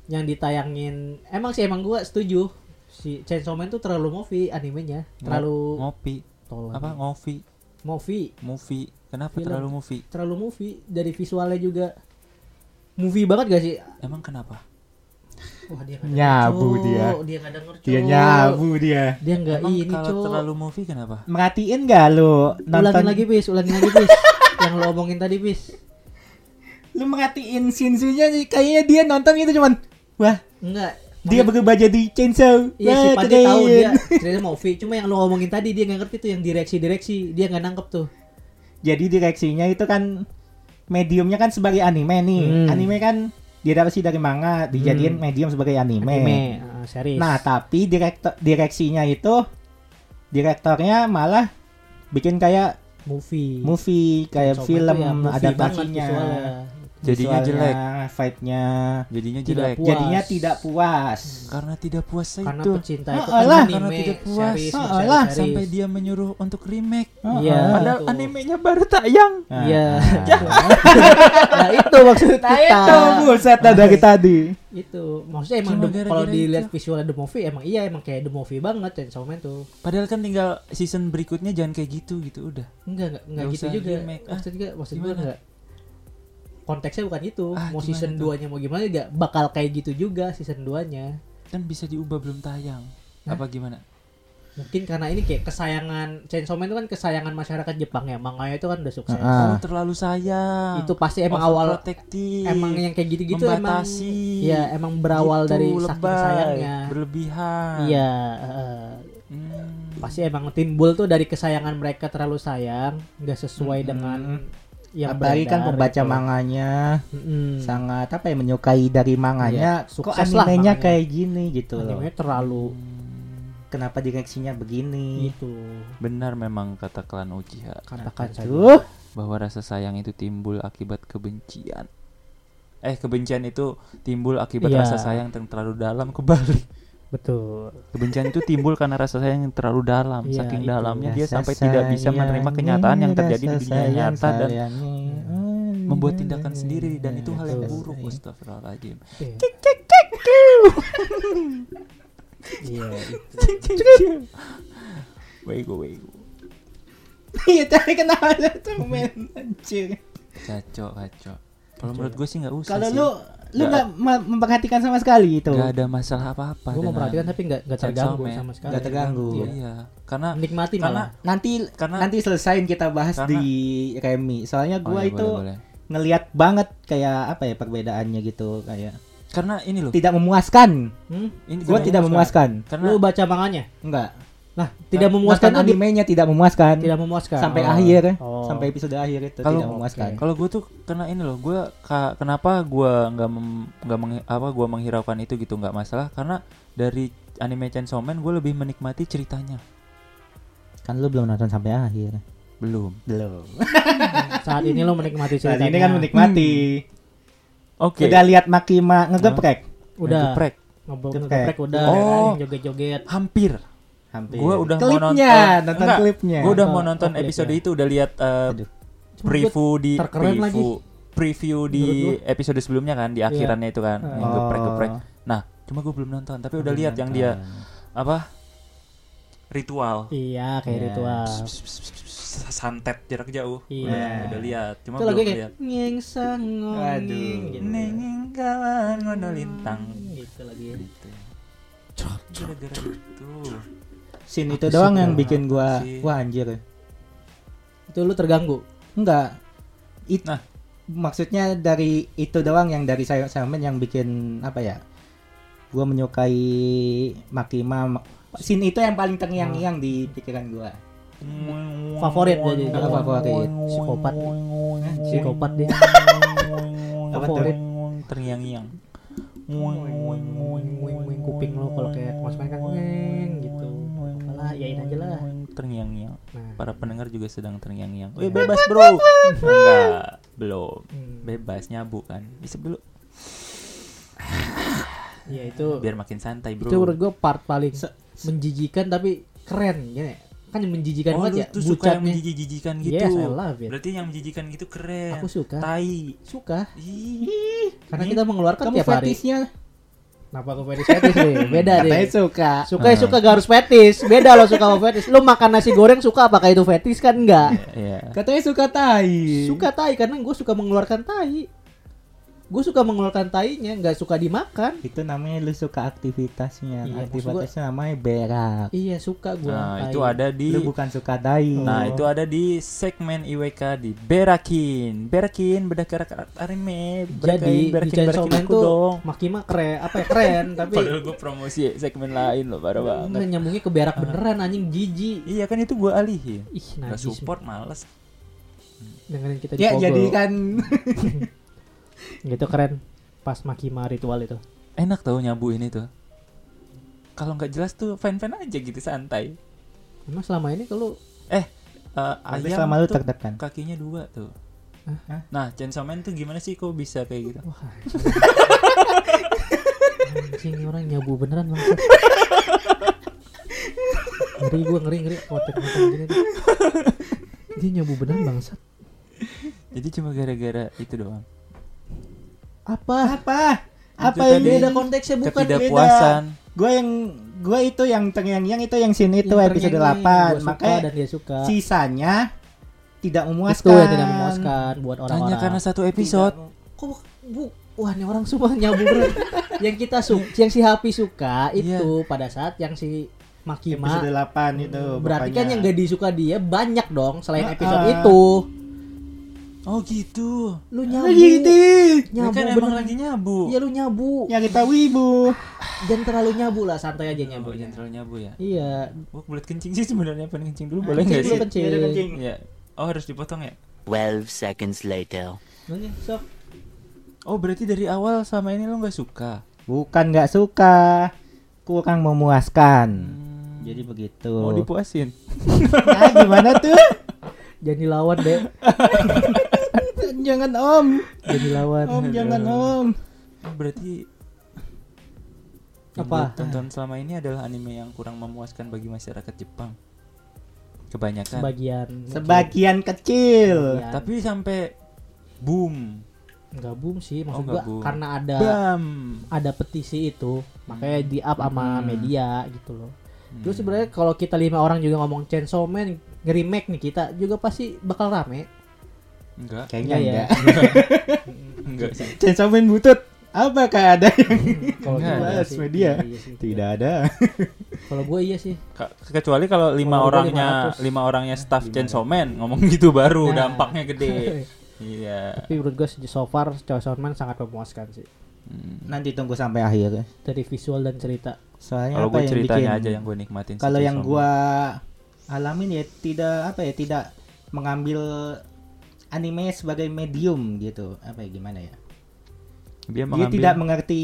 S2: yang ditayangin emang sih emang gua setuju si Chainsaw Man tuh terlalu movie animenya terlalu
S5: ngopi
S2: tolong
S5: apa ngopi
S2: movie
S5: movie kenapa
S2: Film.
S5: terlalu movie
S2: terlalu movie dari visualnya juga movie banget gak sih
S5: emang kenapa
S2: wah dia nggak
S4: Nyabu
S2: denger, Cuk.
S4: dia.
S2: dia nggak denger Cuk.
S4: dia nyabu dia.
S2: dia nggak
S5: Emang
S2: ini
S5: kalau
S2: cok
S5: terlalu movie kenapa
S4: Merhatiin gak lu
S2: ulangin
S4: nonton
S2: lagi bis ulangin lagi bis yang lo omongin tadi bis
S4: Lu merhatiin Shinsunya kayaknya dia nonton itu cuman wah,
S2: enggak
S4: dia berubah jadi chainsaw.
S2: Iya
S4: Wah,
S2: si Pandi tahu
S4: keren."
S2: dia cerita movie cuma yang lo ngomongin tadi dia nggak ngerti tuh yang direksi-direksi dia nggak nangkep tuh
S4: Jadi direksinya itu kan mediumnya kan sebagai anime nih.
S2: Hmm.
S4: Anime kan diadaptasi dari manga, dijadiin
S2: Hmm.
S4: medium sebagai anime.
S2: anime uh, series
S4: Nah, tapi direktor direksinya itu direktornya malah bikin kayak
S2: movie
S4: movie, kayak
S2: Coba
S4: film
S2: tuh ya, movie
S4: adaptasinya.
S2: banget visualnya.
S5: jadinya jelek
S4: Visualnya, vibe-nya.
S5: jadinya
S2: Tidak
S5: jelek
S2: puas.
S4: Jadinya tidak puas.
S5: karena tidak puas
S2: karena
S5: itu
S2: pecinta itu
S4: Heeh
S2: kan
S4: lah.
S2: anime
S5: Karena tidak puas. Ah,
S2: series
S4: Heeh
S2: series,
S4: lah,
S2: series.
S5: sampai dia menyuruh untuk remake
S4: Ah,
S2: Iya.
S5: padahal
S2: Betul.
S5: animenya baru tayang
S4: Nah,
S2: Iya.
S4: nah.
S2: nah itu maksud kita
S4: Itu buset dah dari tadi.
S2: itu maksudnya emang
S5: Cuma
S2: the-
S5: gara-gara
S2: kalau
S5: itu.
S2: dilihat visualnya the movie emang iya emang kayak the movie banget Chainsaw Man tuh
S5: padahal kan tinggal season berikutnya jangan kayak gitu gitu udah
S2: enggak enggak enggak
S5: Nggak
S2: gitu
S5: usah
S2: juga
S5: remake. Ah,
S2: maksud juga maksud gue
S5: gimana?
S2: enggak konteksnya bukan itu
S5: Ah,
S2: mau
S5: gimana
S2: season
S5: tuh?
S2: 2 nya mau gimana juga bakal kayak gitu juga season 2 nya
S5: kan bisa diubah belum tayang apa gimana
S2: mungkin karena ini kayak kesayangan Chainsaw Man itu kan kesayangan masyarakat Jepang ya manganya itu kan udah sukses
S4: Heeh.
S5: oh terlalu sayang
S2: itu pasti emang awal
S5: protektif
S2: emang yang kayak gitu-gitu emang
S5: Membatasi.
S2: ya emang berawal dari saking sayangnya
S5: Gitu, berlebihan
S2: iya heeh.
S5: Hmm.
S2: pasti emang timbul tuh dari kesayangan mereka terlalu sayang nggak sesuai dengan yang
S4: Hmm. Apalagi kan
S2: beredar
S4: pembaca
S2: gitu.
S4: manganya
S2: Mm-mm.
S4: sangat apa ya menyukai dari
S2: Iya,
S4: manganya. Kok
S2: sukses lah
S4: animenya
S2: manganya.
S4: kayak gini gitu loh.
S2: animenya terlalu
S4: Kenapa direksinya begini?
S2: gitu
S5: benar memang kata klan Uchiha
S2: katakan saja
S4: Tuh,
S5: bahwa rasa sayang itu timbul akibat kebencian. Eh, kebencian itu timbul akibat
S2: Iya.
S5: rasa sayang yang terlalu dalam kebalik.
S2: betul
S5: Kebencian itu timbul karena rasa sayang yang terlalu dalam.
S2: Iya,
S5: Saking
S2: itu.
S5: dalamnya dia
S4: rasa
S5: sampai tidak bisa
S4: sayang
S5: menerima kenyataan yang
S4: ini,
S5: terjadi di
S4: rasa
S5: dunia
S4: sayang, Iya,
S5: nyata dan
S4: sayangnya.
S5: membuat tindakan sendiri dan itu hal yang
S2: Betul.
S5: buruk. Astagfirullahaladzim.
S2: Iya. Iya, itu.
S5: Weigo Weigo.
S4: Iya tapi kenapa lu cemen anjir.
S5: Kacau kacau. Kalau menurut gue sih nggak usah
S4: Kalau
S5: sih.
S4: lu lu nggak ma- memperhatikan sama sekali itu.
S5: nggak ada masalah apa-apa.
S2: Gue
S5: dengan-
S2: memperhatikan tapi nggak nggak
S5: Chainsaw
S2: terganggu
S5: Man.
S2: sama sekali.
S4: ya.
S2: Nah,
S4: Nggak terganggu.
S5: Iya. Karena
S2: Menikmati
S3: Karena-
S2: malah.
S4: Nanti
S3: Karena-
S4: nanti selesain kita bahas
S3: Karena-
S4: di Remi. Soalnya
S5: Oh,
S4: gua
S5: iya,
S4: itu
S5: boleh, boleh.
S4: ngelihat banget kayak apa ya perbedaannya gitu kayak
S5: karena ini loh.
S4: tidak memuaskan.
S2: Hmm?
S5: Ini
S4: Gua tidak memuaskan.
S5: Karena
S2: Lu baca manganya?
S4: Enggak.
S2: Nah, tidak memuaskan tuh
S4: Bahkan
S2: di-
S4: animenya tidak memuaskan.
S2: tidak memuaskan.
S4: sampai
S2: Oh.
S4: akhir ya.
S2: Oh.
S4: sampai episode akhir itu
S5: Kalau-
S4: tidak memuaskan.
S5: Kalau gue tuh kena ini loh, gue ka- kenapa gue nggak mem- nggak meng- apa gue menghiraukan itu gitu nggak masalah karena dari anime Chainsaw Man gue lebih menikmati ceritanya.
S4: Kan lu belum nonton sampai akhir.
S5: Belum.
S4: Belum.
S2: saat ini lo menikmati
S4: Saat
S2: ceritanya.
S4: ini kan menikmati.
S5: Oke.
S4: Udah lihat Makima ngegeprek.
S2: udah
S5: Geprek.
S2: ngobrol
S4: Geprek.
S2: geprek udah kan,
S5: Oh.
S2: joget-joget.
S5: Hampir.
S4: Hampir.
S5: Gue udah
S4: klipnya,
S5: mau nonton.
S4: nonton Eh,
S5: Enggak,
S4: klipnya.
S5: Gue udah mau
S2: Nonton-
S5: nonton
S2: oh, klipnya.
S5: episode itu udah lihat eh,
S4: Aduh.
S5: preview di
S2: terkeren
S5: preview
S2: lagi.
S5: preview di episode sebelumnya kan di akhirannya itu kan yang
S4: Oh.
S5: geprek-geprek. Nah, cuma gue belum nonton tapi udah lihat yang dia apa ritual
S2: Iya, kayak
S4: Iya.
S2: ritual.
S3: santet jarak jauh.
S2: Iya.
S3: Udah, udah lihat, cuma
S2: Itu
S3: belum
S2: lagi kayak
S3: lihat.
S2: nyeng sangong.
S4: Aduh.
S2: Gitu.
S3: Nenging kawan ngono lintang.
S2: Gitu lagi.
S3: Gara-gara itu.
S4: Scene itu doang yang bikin gua
S3: sih?
S4: wah anjir.
S2: Itu lu terganggu.
S4: Enggak. It,
S5: Nah.
S4: maksudnya dari itu doang yang dari saya Salman yang bikin apa ya? Gua menyukai Makima. Scene itu yang paling terngiang-ngiang di pikiran gua.
S2: Favorit jadi.
S4: Apa favorit?
S2: Psikopat. Psikopat dia.
S4: Apa tuh?
S2: Favorit.
S5: terngiang-ngiang.
S2: Wing-wing kuping lo kalau kayak kemasukan kan ngeng gitu. Apalah, yain aja lah.
S5: Terngiang-ngiang.
S2: Nah.
S5: Para pendengar juga sedang terngiang-ngiang. Weh, bebas, Bro. Enggak, belum.
S2: Hmm.
S5: Bebas nyabu kan. Bisa dulu
S2: Iya itu.
S5: biar makin santai, Bro.
S2: Itu menurut gua part paling
S4: Se-
S2: menjijikan tapi keren gini. Kan menjijikan
S5: oh, lu
S2: banget ya.
S5: tuh suka yang
S2: bucatnya.
S5: menjijikan gitu.
S2: Yes, I love it.
S5: Berarti yang menjijikan gitu keren.
S2: Aku suka.
S5: Tai.
S2: Suka.
S5: Ih.
S2: Karena kita mengeluarkan
S4: Kamu
S2: tiap hari.
S4: fetishnya
S2: Kenapa gue fetish fetish nih? Beda
S4: katanya
S2: deh.
S4: suka.
S2: Suka
S5: Ah.
S2: ya suka gak harus fetish. Beda lo suka sama fetish. Lo makan nasi goreng suka apakah itu fetish kan enggak?
S5: Iya.
S4: Katanya suka tai.
S2: Suka tai karena gue suka mengeluarkan tai. Gue suka mengeluarkan tainya, nggak suka dimakan.
S4: Itu namanya lu suka aktivitasnya.
S2: Iya, maksud
S4: aktivitasnya namanya berak.
S2: Iya suka gue.
S5: Nah, itu ada di
S4: Lu bukan suka tai.
S5: Nah, itu ada di segmen IWK di Berakin. Berakin bedah karat anime.
S2: jadi di
S5: berakin,
S2: Chainsaw
S5: berakin
S2: Man
S5: aku
S2: tuh
S5: dong.
S2: makima keren, apa ya keren tapi
S5: Padahal gue promosi segmen lain loh, parah banget. Ah.
S2: nggak nyambungnya ke berak beneran anjing jijik.
S5: Iya kan itu gue alihin.
S2: Ih,
S3: Gak
S2: najis.
S3: support males.
S2: Dengerin kita di
S4: ya
S2: Pogo.
S4: jadi kan
S2: Gitu keren pas makima ritual itu.
S5: Enak tau nyabu ini tuh. Kalau nggak jelas tuh fan-fan aja gitu santai.
S2: Emang selama ini kalau
S5: Eh, eh ayam
S4: Berarti selama lu
S5: tuh
S4: tertekan.
S5: kakinya dua tuh.
S4: Hah?
S5: Nah, Chainsaw Man tuh gimana sih kok bisa kayak gitu?
S2: Wah. Anjing ini orang nyabu beneran bang. ngeri gue ngeri ngeri konten konten gini tuh. Dia nyabu beneran bangsat.
S5: Jadi cuma gara-gara itu doang.
S2: Apa?
S4: apa? Apa
S5: Itu
S4: yang
S5: tadi.
S4: beda?
S2: Beda konteksnya bukan
S5: Ketidakpuasan.
S4: Gue yang gue itu yang terngiang-ngiang itu yang sini itu
S2: Yang
S4: episode
S2: ternyanyi,
S4: 8.
S2: gua suka
S4: Makanya
S2: dan dia suka.
S4: sisanya tidak
S2: itu
S4: memuaskan.
S2: yang tidak memuaskan buat orang-orang.
S5: Hanya karena satu episode.
S2: Kok bu, bu- wah ini orang semua nyabu beneran. yang kita su yang si Happy suka itu pada saat yang si Makima
S4: Episode 8 itu.
S2: berarti kan
S4: bapaknya.
S2: yang gak disuka dia banyak dong selain
S4: Ah,
S2: episode
S4: ah.
S2: itu.
S5: Oh gitu.
S2: Lu
S4: Lagi
S2: nyabu.
S4: gitu. Ya.
S2: nyabu
S5: kan emang
S2: beneran.
S5: lagi nyabu.
S2: Iya lu nyabu.
S4: Yang kita wibu.
S2: Jangan terlalu nyabu lah, santai aja
S5: nyabu,
S2: nyabunya.
S5: jangan terlalu nyabu ya.
S2: Iya.
S5: Gue kebelet kencing sih sebenarnya pengen kencing dulu boleh
S2: Ah,
S5: nggak
S2: Kencing dulu,
S5: sih?
S2: kencing.
S4: Ya udah kencing.
S5: Iya. Oh harus dipotong ya?
S6: 12 seconds later.
S2: Nanya, sok.
S5: Oh berarti dari awal sama ini lo nggak suka?
S4: Bukan nggak suka. Kurang memuaskan.
S2: Hmm.
S4: Jadi begitu.
S5: Mau dipuasin?
S4: Nah, gimana tuh?
S2: Jangan dilawan, Dek.
S4: jangan om.
S2: Jangan dilawan.
S4: Om jangan om.
S5: Oh, berarti yang
S2: Apa?
S5: gua tonton selama ini adalah anime yang kurang memuaskan bagi masyarakat Jepang. Kebanyakan.
S2: Sebagian.
S4: Sebagian kecil.
S2: Sebagian.
S5: Tapi sampai boom,
S2: Enggak boom sih, maksud
S5: Oh,
S2: gua
S5: nggak boom.
S2: karena ada
S5: bam. Hmm.
S2: ada petisi itu, makanya di up sama media gitu loh. Terus sebenarnya kalau kita lima orang juga ngomong Chainsaw Man nge-remake nih kita juga pasti bakal rame.
S5: Enggak.
S4: Kayaknya
S2: Iya,
S4: enggak.
S5: Enggak sih.
S4: Chainsaw Man butut. Apakah ada yang
S2: Kalau
S5: Nggak
S2: gua
S4: ada
S2: sih,
S4: media.
S2: iya sih.
S4: tidak ada?
S2: Kalau gue iya sih.
S5: Ka- kecuali kalau
S2: Kalau
S5: lima
S2: gua
S5: orangnya
S2: 500.
S5: lima orangnya staff Chainsaw Man ngomong gitu baru
S2: Nah.
S5: dampaknya gede. Iya.
S2: Tapi menurut gue so far Chainsaw Man sangat memuaskan sih.
S5: Hmm.
S4: Nanti tunggu sampai akhir.
S2: Dari visual dan cerita.
S4: Soalnya
S5: Kalau
S4: apa
S5: gue
S4: yang
S5: ceritanya
S4: bikin
S5: aja yang gue nikmatin. sih
S4: kalau yang
S5: Chainsaw Man.
S4: gua alamin ya tidak apa ya tidak mengambil anime sebagai medium gitu apa ya gimana ya
S5: dia,
S4: dia
S5: mengambil-
S4: tidak mengerti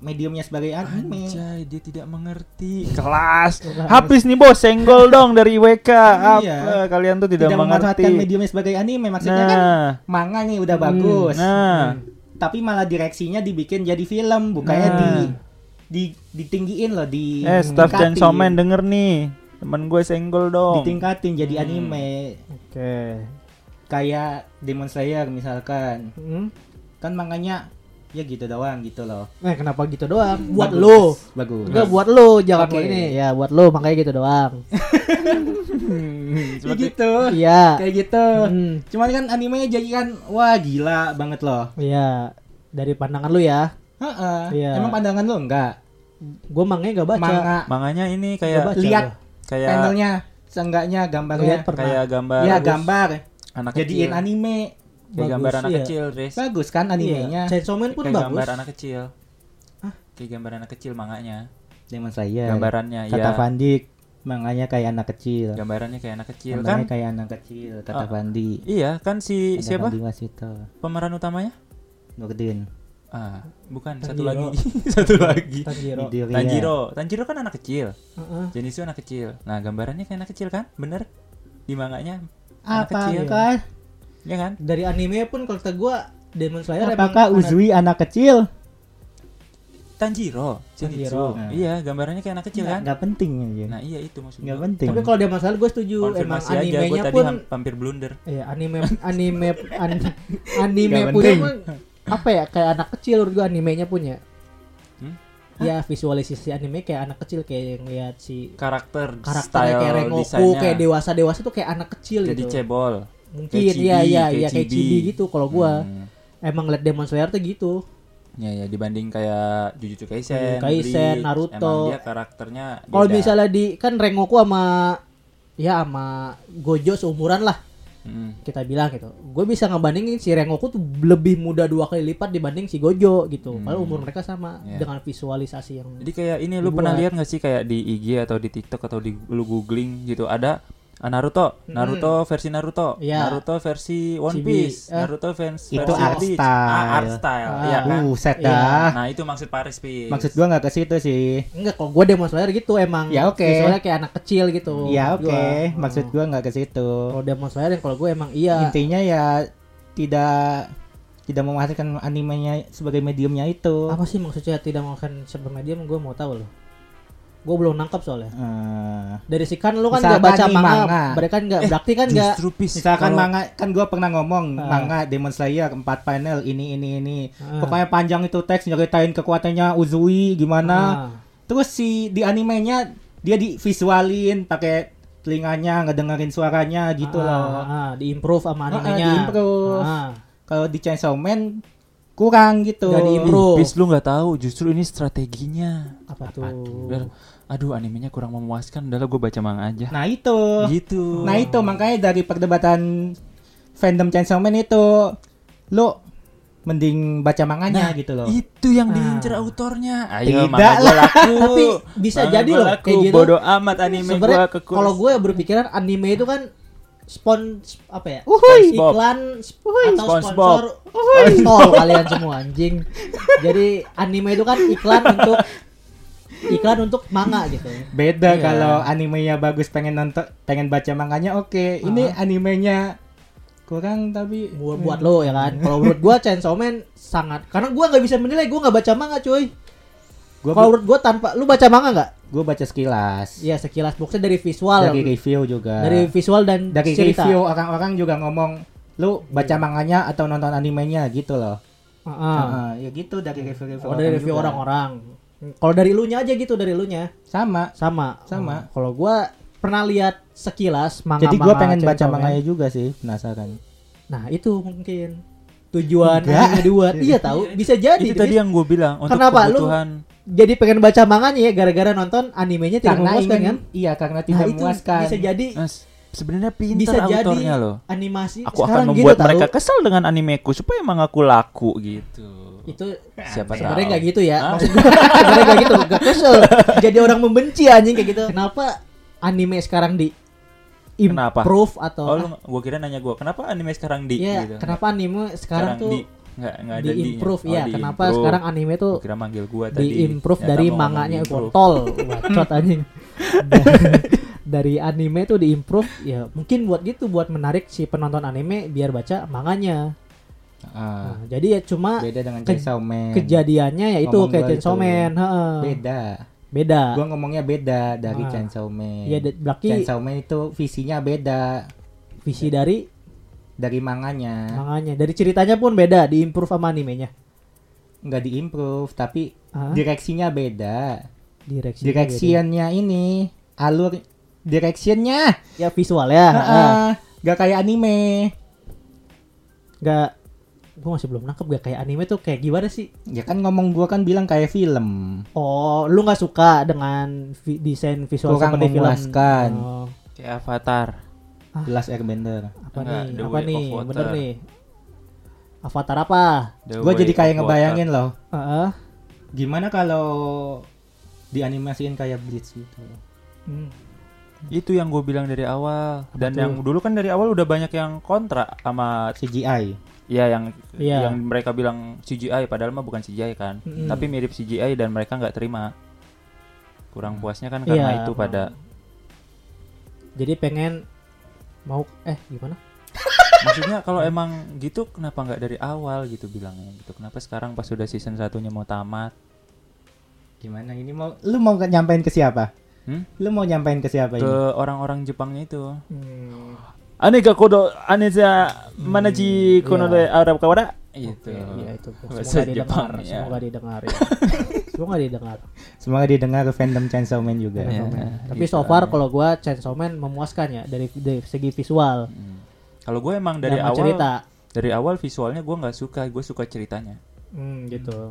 S4: mediumnya sebagai anime
S5: Anjay, dia tidak mengerti kelas. Habis nih bos, senggol dong dari WK. Apa
S4: Iya.
S5: kalian tuh
S4: tidak,
S5: tidak,
S4: memanfaatkan
S5: mengerti?
S4: mediumnya sebagai anime maksudnya kan
S5: Nah,
S4: manga nih udah bagus Hmm.
S5: nah,
S4: tapi malah direksinya dibikin jadi film bukannya
S5: Nah.
S4: di, di ditinggiin loh di
S5: eh staff
S4: tingkatin.
S5: Chainsaw Man denger nih, temen gue senggol dong.
S4: ditingkatin jadi
S5: Hmm.
S4: anime
S2: Oke.
S4: kayak Demon Slayer misalkan
S2: Hmm?
S4: kan manganya ya gitu doang gitu loh
S2: Eh kenapa gitu doang? Buat
S4: Hmm, Bagus,
S2: lo.
S4: bagus
S2: Enggak buat lo, jangan
S4: Oke.
S2: buat ini. Ya buat lo makanya gitu doang.
S4: Ya gitu
S2: Iya.
S4: kayak gitu
S2: Hmm.
S4: cuman kan animenya jadi kan wah gila banget loh
S2: Iya. Dari pandangan lu ya.
S4: Heeh.
S2: Iya.
S4: emang pandangan lo enggak
S2: Gue mangnya gak baca.
S4: manga
S5: Makanya ini kayak
S2: Coba. baca
S4: lihat
S5: kayak
S4: panelnya seenggaknya gambarnya
S2: Lihat pernah.
S5: kayak gambar iya.
S4: ya gambar
S5: anak
S4: jadiin
S5: kecil.
S4: anime
S5: Kayak
S2: Bagus,
S5: gambar anak
S2: iya.
S5: kecil, Riz.
S4: bagus kan animenya
S2: Iya. Chainsaw Man pun
S5: Kayak
S2: bagus.
S5: gambar anak kecil. Kayak gambar anak kecil manganya.
S4: Demon Slayer
S5: Gambarannya
S4: Iya, kata
S5: ya.
S4: Van Dyck manganya kayak anak kecil
S5: Gambarannya kayak anak kecil
S4: gambarnya
S5: kan?
S4: kayak anak kecil kata
S5: Ah,
S4: Pandi
S5: Iya, kan si siapa
S4: Pandi Wasito
S5: pemeran utamanya?
S4: Nurdin
S5: Ah, bukan, satu
S2: Tanjiro.
S5: lagi. satu lagi.
S2: Tanjiro.
S4: Midoriya.
S5: Tanjiro. Tanjiro kan anak kecil.
S2: Heeh.
S5: Jenisu anak kecil. Nah, gambarannya kayak anak kecil kan? Bener? Di manganya anak kecil.
S4: apakah
S5: Ya kan?
S2: Dari anime pun kalau kata gue Demon Slayer emang
S4: apakah
S2: anak-
S4: Uzui anak kecil
S5: Tanjiro, Jenisu.
S2: Tanjiro.
S4: Nah.
S5: Iya, gambarannya kayak anak kecil kan?
S4: nggak penting aja
S5: Nah, iya itu maksudnya.
S4: nggak penting
S2: Tapi kalau Demon Slayer gue setuju emang
S5: Konfirmasi aja, gue
S2: animenya
S5: tadi
S2: pun
S5: ham- hampir blunder.
S2: Iya, anime anime an- anime punya
S4: Nggak penting.
S2: pun apa ya kayak anak kecil menurut gua animenya punya.
S5: Hmm?
S2: Ya visualisasi anime kayak anak kecil kayak yang lihat si
S5: Karakter,
S2: karakternya
S5: style,
S2: kayak Rengoku
S5: desainnya.
S2: kayak dewasa dewasa tuh kayak anak kecil
S5: jadi
S2: gitu.
S5: cebol.
S2: Mungkin
S5: chibi,
S2: iya iya
S5: kayak
S2: iya kayak
S5: chibi.
S2: chibi gitu kalau gua
S5: Hmm.
S2: emang liat Demon Slayer tuh gitu.
S5: Ya ya dibanding kayak Jujutsu Kaisen,
S2: Jujutsu Kaisen,
S5: Bleach,
S2: Naruto.
S5: Emang dia karakternya
S2: Kalau
S5: beda.
S2: misalnya di kan Rengoku sama ya sama Gojo seumuran lah
S5: Mm.
S2: kita bilang gitu. Gue bisa ngebandingin si Rengoku tuh lebih muda dua kali lipat dibanding si Gojo gitu.
S5: Hmm.
S2: Padahal umur mereka sama
S5: Iya.
S2: dengan visualisasi yang
S5: Jadi kayak ini lu
S2: Dibuat.
S5: pernah lihat nggak sih kayak di IG atau di TikTok atau di lu googling gitu ada ah, Naruto, Naruto versi Naruto,
S2: Iya.
S5: Naruto versi One
S2: Chibi.
S5: Piece,
S2: Eh.
S5: Naruto fans
S4: Itu
S5: versi
S4: art
S5: Bleach.
S4: style.
S5: Ah, art style,
S2: Ah.
S5: iya kan?
S4: buset
S2: Iya.
S4: dah
S5: Nah itu maksud Paris Piece.
S4: maksud gua nggak ke situ sih
S2: enggak kalau gue Demon Slayer gitu emang
S4: Ya, oke.
S2: visualnya kayak anak kecil gitu.
S4: ya oke
S2: Gua.
S4: maksud
S2: Hmm.
S4: gua nggak ke situ
S2: kalau Demon Slayer yang kalau gue emang iya.
S4: intinya ya tidak tidak memasarkan animenya sebagai mediumnya itu
S2: Apa sih maksudnya tidak makan sebelum medium gue mau tahu loh. Gue belum nangkap soalnya.
S4: Eh,
S2: Dari si kan lu kan nggak
S4: Misalkan
S2: baca
S4: nih, Eh,
S2: manga,
S4: manga.
S2: mereka nggak berarti kan nggak
S5: Justru Piece.
S4: misalkan
S5: kalau-
S4: manga kan gua pernah ngomong
S2: Ah.
S4: manga Demon Slayer empat panel ini ini ini
S2: Ah.
S4: pokoknya panjang itu teks nyeritain kekuatannya Uzui gimana
S2: Ah.
S4: terus si di animenya dia divisualin pakai telinganya ngedengerin suaranya gitu
S2: Ah,
S4: loh
S2: ah, ah, diimprove sama
S4: Ah, ah,
S2: animenya.
S4: diimprove.
S2: Ah.
S4: kalau di Chainsaw Man kurang gitu
S2: Nggak
S5: Ih,
S2: Bro.
S5: Piece lu nggak tahu, justru ini strateginya.
S2: apa tuh?
S5: Biar- aduh animenya kurang memuaskan, udahlah gue baca manga aja.
S4: nah itu
S2: Oh.
S5: gitu.
S4: Nah itu makanya dari perdebatan fandom Chainsaw Man itu lo mending baca manganya
S5: Nah,
S4: gitu loh.
S5: Itu
S2: Ah.
S5: yang diincer autornya. Ayo,
S4: Tidak
S5: manga gua
S4: lah.
S5: laku.
S2: Tapi bisa
S5: Manga
S2: jadi
S5: gua
S2: loh,
S5: laku.
S2: kayak gitu.
S5: Bodoh amat anime
S2: Sebenarnya
S5: gua kekuras.
S2: kalau gue berpikiran anime itu kan spon sp- apa ya?
S5: Uhuy. Spongebob.
S2: Iklan sp- atau
S5: Spongebob.
S2: sponsor. Tol kalian semua anjing. Jadi anime itu kan iklan untuk iklan untuk manga gitu.
S5: Iya.
S4: Beda kalau animenya bagus pengen nonton pengen baca manganya oke. Ini animenya kurang tapi Hmm.
S2: Buat, Uh-huh. buat lo ya kan. Kalau menurut gue Chainsaw Man sangat karena gue nggak bisa menilai gue nggak baca manga cuy.
S4: gua
S2: Kalau menurut gue tanpa lu baca manga nggak?
S4: gua baca sekilas.
S2: Ya sekilas maksudnya dari visual
S4: Dari review juga.
S2: dari visual dan
S4: Dari
S2: cerita. Iya.
S4: review orang-orang juga ngomong lu baca manganya atau nonton animenya gitu loh.
S2: Ah, ah.
S4: Heeh, ya gitu dari review-review
S2: Oh, dari review
S4: juga.
S2: orang-orang. Kalau dari lu nya aja gitu dari lu nya
S4: Sama.
S2: sama.
S4: Sama.
S2: Oh, Kalau gua pernah lihat sekilas manga
S4: Jadi gue pengen baca manganya juga sih, penasaran.
S2: Nah, itu mungkin tujuan
S4: Enggak.
S2: anime dua. iya tahu, bisa jadi.
S5: itu tadi
S2: Jadi-
S5: yang gue bilang untuk
S2: Kenapa? Lu-
S5: kebutuhan
S2: Jadi pengen baca manganya ya gara-gara nonton animenya tidak
S4: Karena
S2: memuaskan
S4: ingin,
S2: kan?
S4: iya karena
S2: Nah,
S4: tidak
S2: itu
S4: memuaskan.
S2: bisa jadi
S5: Eh, s- sebenarnya pinter
S2: Bisa jadi.
S5: autornya loh
S2: animasi
S5: aku
S2: sekarang
S5: akan
S2: gitu,
S5: membuat
S2: tahu.
S5: mereka kesal dengan animeku supaya mangaku laku gitu
S2: itu
S5: siapa tahu
S2: sebenarnya nggak gitu ya
S5: Ah.
S2: maksud gua sebenarnya nggak gitu nggak kesel jadi orang membenci anjing kayak gitu kenapa anime sekarang di
S5: Kenapa?
S2: improve atau
S5: oh lu gue kira nanya gue kenapa anime sekarang di
S2: Iya,
S5: gitu
S2: kenapa anime sekarang, tuh
S5: di nggak nggak ada
S2: di
S5: di-nya.
S2: improve
S5: Oh,
S2: ya?
S5: di
S2: Kenapa
S5: improve.
S2: sekarang anime tuh
S4: Oh,
S5: Gua kira manggil gue tadi
S2: di improve
S4: ya,
S5: Ternyata
S2: dari
S5: mau ngomong
S2: manganya
S5: improve.
S2: kontol, bacot anjing. Da- dari anime tuh di improve ya mungkin buat gitu buat menarik si penonton anime biar baca manganya.
S4: Ah,
S2: Nah, jadi ya cuma
S4: beda dengan
S2: Ke-
S4: Chainsaw Man.
S2: kejadiannya ya itu
S4: Ngomong
S2: kayak
S4: gua
S2: Chainsaw
S4: itu.
S2: Man, heeh.
S4: Beda.
S2: Beda.
S4: Gua ngomongnya beda dari
S2: Nah. Ah.
S4: Chainsaw Man.
S2: Iya, da- berarti
S4: Chainsaw Man itu visinya beda
S2: visi dari
S4: dari manganya.
S2: manganya, dari ceritanya pun beda, di improve sama animenya.
S4: Nggak diimprove, tapi
S2: Hah?
S4: direksinya beda.
S2: Direksi.
S4: Directionnya ini alur directionnya.
S2: Ya visual ya. heeh.
S4: Ah, Nggak kayak anime.
S2: nggak gue masih belum nangkep gak kayak anime tuh kayak gimana sih
S4: Ya kan ngomong gua kan bilang kayak film.
S2: oh lu nggak suka dengan vi- desain visual
S4: Kurang
S2: seperti
S4: memuaskan.
S2: film oh,
S5: kayak avatar
S2: Ah.
S4: Jelas Airbender.
S2: apa
S5: Enggak,
S2: nih
S5: The
S2: apa
S5: Way
S2: nih
S5: of Water.
S2: bener nih avatar apa
S5: The
S4: Gue
S5: way
S4: jadi kayak
S5: of
S4: ngebayangin loh.
S2: Heeh.
S4: Gimana kalau dianimasiin kayak Blitz gitu?
S2: Hmm.
S5: water. itu yang gue bilang dari awal dan
S2: tuh?
S5: yang dulu kan dari awal udah banyak yang kontra sama
S4: CGI.
S5: ya yang
S2: Iya.
S5: yang mereka bilang CGI padahal mah bukan CGI kan
S2: Mm-mm.
S5: tapi mirip CGI dan mereka nggak terima kurang puasnya kan karena
S2: Iya,
S5: itu pada
S2: jadi pengen mau eh gimana
S5: maksudnya kalau emang gitu kenapa nggak dari awal gitu bilangnya gitu kenapa sekarang pas sudah season satunya mau tamat
S4: Gimana ini mau lu mau ke- nyampein ke siapa?
S5: Hmm?
S4: Lu mau nyampein ke siapa
S2: Iya.
S5: ke
S4: ini?
S5: orang-orang Jepangnya itu
S2: Hmm.
S5: aneka kodo aneka manaji kono de Arab kawada
S2: Oke,
S5: gitu
S2: iya, itu
S5: Bahasa
S2: semoga didengar
S5: Jepang, ya.
S2: semoga didengar ya. semoga didengar
S4: Semoga didengar fandom Chainsaw Man juga.
S5: Iya.
S2: tapi
S5: gitu
S2: so far
S5: aja.
S2: kalau gua Chainsaw Man memuaskan ya dari, dari segi visual
S5: Hmm. kalau gue emang dari
S2: sama
S5: awal
S2: cerita
S5: dari awal visualnya gue nggak suka gue suka ceritanya
S2: Hmm, gitu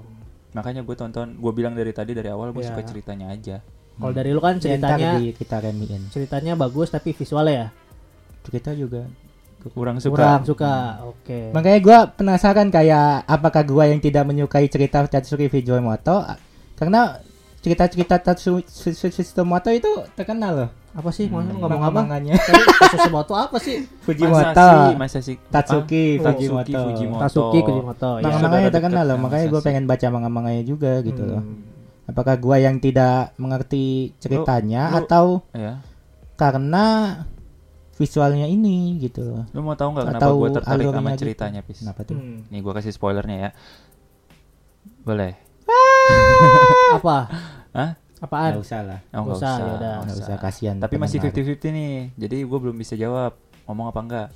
S5: makanya gue tonton gue bilang dari tadi dari awal gue
S2: Iya.
S5: suka ceritanya aja
S2: Kalau dari lu kan
S4: Ya, ntar
S2: ceritanya
S4: di- kita remiin.
S2: ceritanya bagus tapi visualnya ya
S4: Kita juga.
S5: kurang suka
S2: kurang suka. Oke.
S4: Makanya gua penasaran kayak apakah gua yang tidak menyukai cerita Tatsuki Fujimoto karena cerita-cerita Tatsuki Fujimoto itu terkenal loh.
S2: Apa sih maksud lu
S5: hmm.
S2: ngomong apa?
S4: Ngomong-ngomongannya
S2: Tadi Tatsumoto apa sih?
S4: Fujimoto.
S5: masa sih
S4: Tatsuki
S5: Ah,
S4: Fujimoto.
S5: Fujimoto.
S2: Tatsuki Kujimoto. Ya.
S5: Iya. Mangga-
S4: Manga-manganya
S5: Saudara
S4: terkenal
S5: dekat
S4: loh,
S5: sama
S4: makanya gue
S5: Sasuke.
S4: pengen baca manga-manganya juga gitu loh. Apakah gua yang tidak mengerti ceritanya
S5: lu-
S4: atau
S5: ya
S4: karena visualnya ini gitu loh.
S5: lu mau tahu nggak kenapa
S4: Atau
S5: gue tertarik sama
S4: alurnya gitu.
S5: ceritanya pis
S4: Kenapa tuh?
S2: Hmm.
S5: nih gue kasih spoilernya ya boleh
S2: Apa?
S5: Hah?
S2: Apaan?
S4: Nggak usah lah,
S5: oh, nggak
S2: Nggak usah,
S5: usah,
S2: yaudah.
S5: nggak
S4: nggak usah
S5: usah.
S4: kasihan.
S5: tapi masih
S4: pendengar.
S5: 50-50 nih jadi gue belum bisa jawab ngomong apa enggak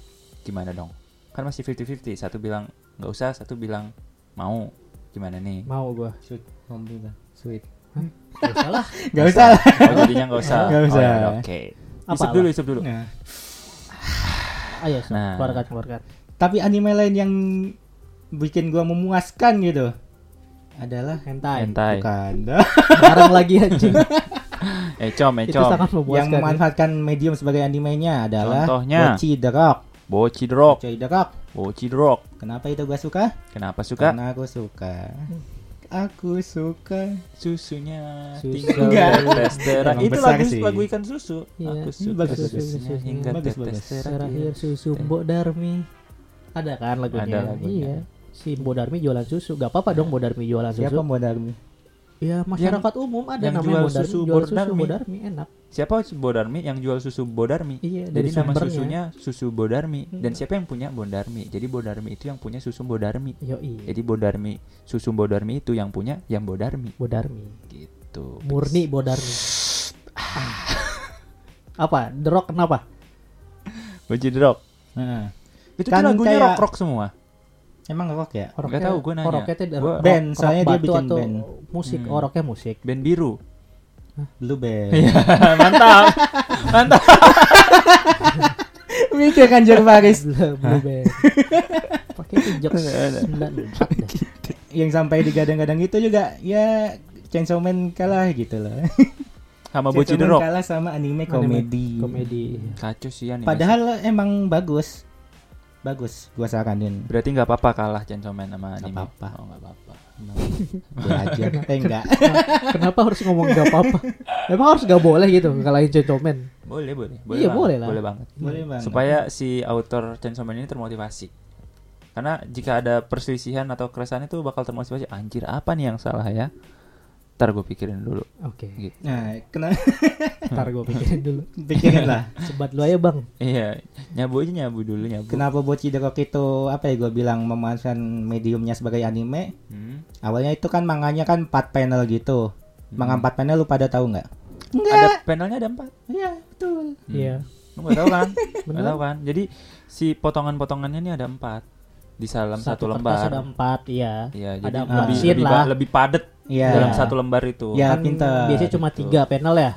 S5: gimana dong kan masih 50-50 satu bilang nggak usah satu bilang mau gimana nih
S2: Mau gua. Ya
S4: Sweet, Om juga. Sweet.
S2: Nggak usah lah.
S4: Nggak usah lah.
S5: oh jadinya nggak usah
S4: Nggak
S5: Oh,
S4: usah.
S5: yaudah, oke
S2: Apa
S5: isep
S2: lah?
S5: dulu isep dulu
S4: Nah,
S2: Ayo, so,
S5: Nah.
S2: keluarkan keluarkan.
S4: Tapi anime lain yang bikin gua memuaskan gitu adalah
S2: Hentai.
S5: hentai
S4: bukan
S2: Barang lagi anjing.
S5: eh com eh
S2: Itu
S5: com
S2: sangat
S4: yang
S2: memuaskan. ya.
S4: memanfaatkan medium sebagai animenya adalah
S5: Contohnya?
S4: Bocchi the Rock.
S5: bocid rock
S4: Bocchi the Rock.
S5: bocid rock
S4: Kenapa itu gua suka?
S5: kenapa suka
S4: Karena aku suka. Aku suka.
S5: susunya
S2: Susu.
S5: tinggal
S4: Enggak.
S5: tetes terang
S4: Emang
S5: itu
S4: besar
S5: lagu
S4: sih.
S5: lagu ikan susu
S2: Iya.
S5: aku
S4: Ini
S5: suka
S4: bagus, bagus,
S5: susunya
S2: bagus.
S5: hingga
S4: Bagus,
S5: tetes
S4: bagus.
S5: terang
S2: Terakhir susu Mbok Darmi. Ada kan lagunya?
S5: Ada lagunya.
S2: Iya. Si Mbok Darmi jualan susu. Gak apa-apa dong Mbok Darmi jualan
S4: Siapa
S2: susu.
S4: mau darmi?
S2: Ya masyarakat umum ada
S5: yang
S2: namanya
S5: jual
S2: Mbok Darmi.
S5: susu
S2: Jual
S5: Mbok
S2: susu
S5: Darmi.
S2: Mbok Darmi enak.
S5: siapa Bodarmi yang jual susu Bodarmi
S2: Iya, dari
S5: jadi nama
S2: sumbernya.
S5: susunya susu Bodarmi dan
S2: Iya.
S5: siapa yang punya Bodarmi jadi Bodarmi itu yang punya susu Bodarmi
S2: Yo iya.
S5: jadi Bodarmi susu Bodarmi itu yang punya yang Bodarmi
S2: Bodarmi.
S5: gitu
S2: Murni Bodarmi. Apa? The Rock kenapa?
S5: Bocid rock
S4: Nah,
S5: itu
S4: Kan
S5: tuh
S2: Kan
S5: lagunya
S4: kayak-
S5: rock rock semua
S4: Emang rock ya?
S2: Oroknya,
S5: Nggak tahu, gua nanya.
S2: Oroknya tuh
S5: Gua-
S4: Band, soalnya dia
S2: batu
S4: bikin
S2: atau
S4: band.
S2: musik,
S5: Hmm.
S2: oroknya musik.
S5: Band biru.
S4: Blue band.
S5: Iya, mantap. mantap.
S4: Mikir kan Jer Faris
S2: Blue band. Pakai itu jok 94 deh.
S4: yang sampai digadang-gadang itu juga ya Chainsaw Man kalah gitu loh.
S5: Sama Boci
S4: Chainsaw
S5: The
S4: Man
S5: Rock.
S4: kalah sama anime komedi.
S2: Komedi.
S5: Kacau sih anime.
S4: Padahal emang bagus. Bagus, gua saranin.
S5: berarti nggak apa-apa kalah Chainsaw Man sama anime.
S4: apa-apa.
S5: Oh, nggak apa-apa.
S4: Belajar. eh enggak.
S2: Kenapa harus ngomong gak apa-apa? Emang harus gak boleh gitu ngalahin Chainsaw Man.
S5: Boleh, boleh.
S2: Iya,
S5: banget,
S2: boleh lah.
S5: Boleh banget.
S4: Boleh banget.
S5: Supaya si author Chainsaw Man ini termotivasi. Karena jika ada perselisihan atau keresahan itu bakal termotivasi. Anjir, apa nih yang salah ya? Ntar gue pikirin dulu.
S2: Oke,
S5: Gitu.
S4: Nah, kena
S2: ntar
S5: Hmm.
S2: gue pikirin dulu.
S4: pikirin lah.
S2: Sebat lu aja bang.
S5: Iya, nyabu aja nyabu dulu nyabu.
S4: Kenapa Boci The Rock itu apa ya gua bilang memanfaatkan mediumnya sebagai anime?
S5: Hmm.
S4: Awalnya itu kan manganya kan 4 panel gitu.
S5: Hmm.
S4: Manga 4 panel lu pada tahu nggak?
S5: Ada panelnya ada empat.
S4: Iya, betul.
S5: Hmm.
S2: Iya.
S5: Lu nggak tahu kan?
S2: Bener.
S5: Nggak tahu kan? Jadi si potongan-potongannya ini ada empat di dalam
S2: kertas
S5: satu, lembar.
S2: Ada empat, iya.
S5: Iya,
S2: Ada
S5: jadi
S2: empat
S5: lebih
S2: scene
S5: lebih,
S2: lah.
S5: ba- lebih padat
S4: Iya.
S5: dalam satu lembar itu.
S4: Iya,
S2: Kan
S4: pintar.
S2: Biasanya cuma
S5: gitu.
S2: tiga panel ya.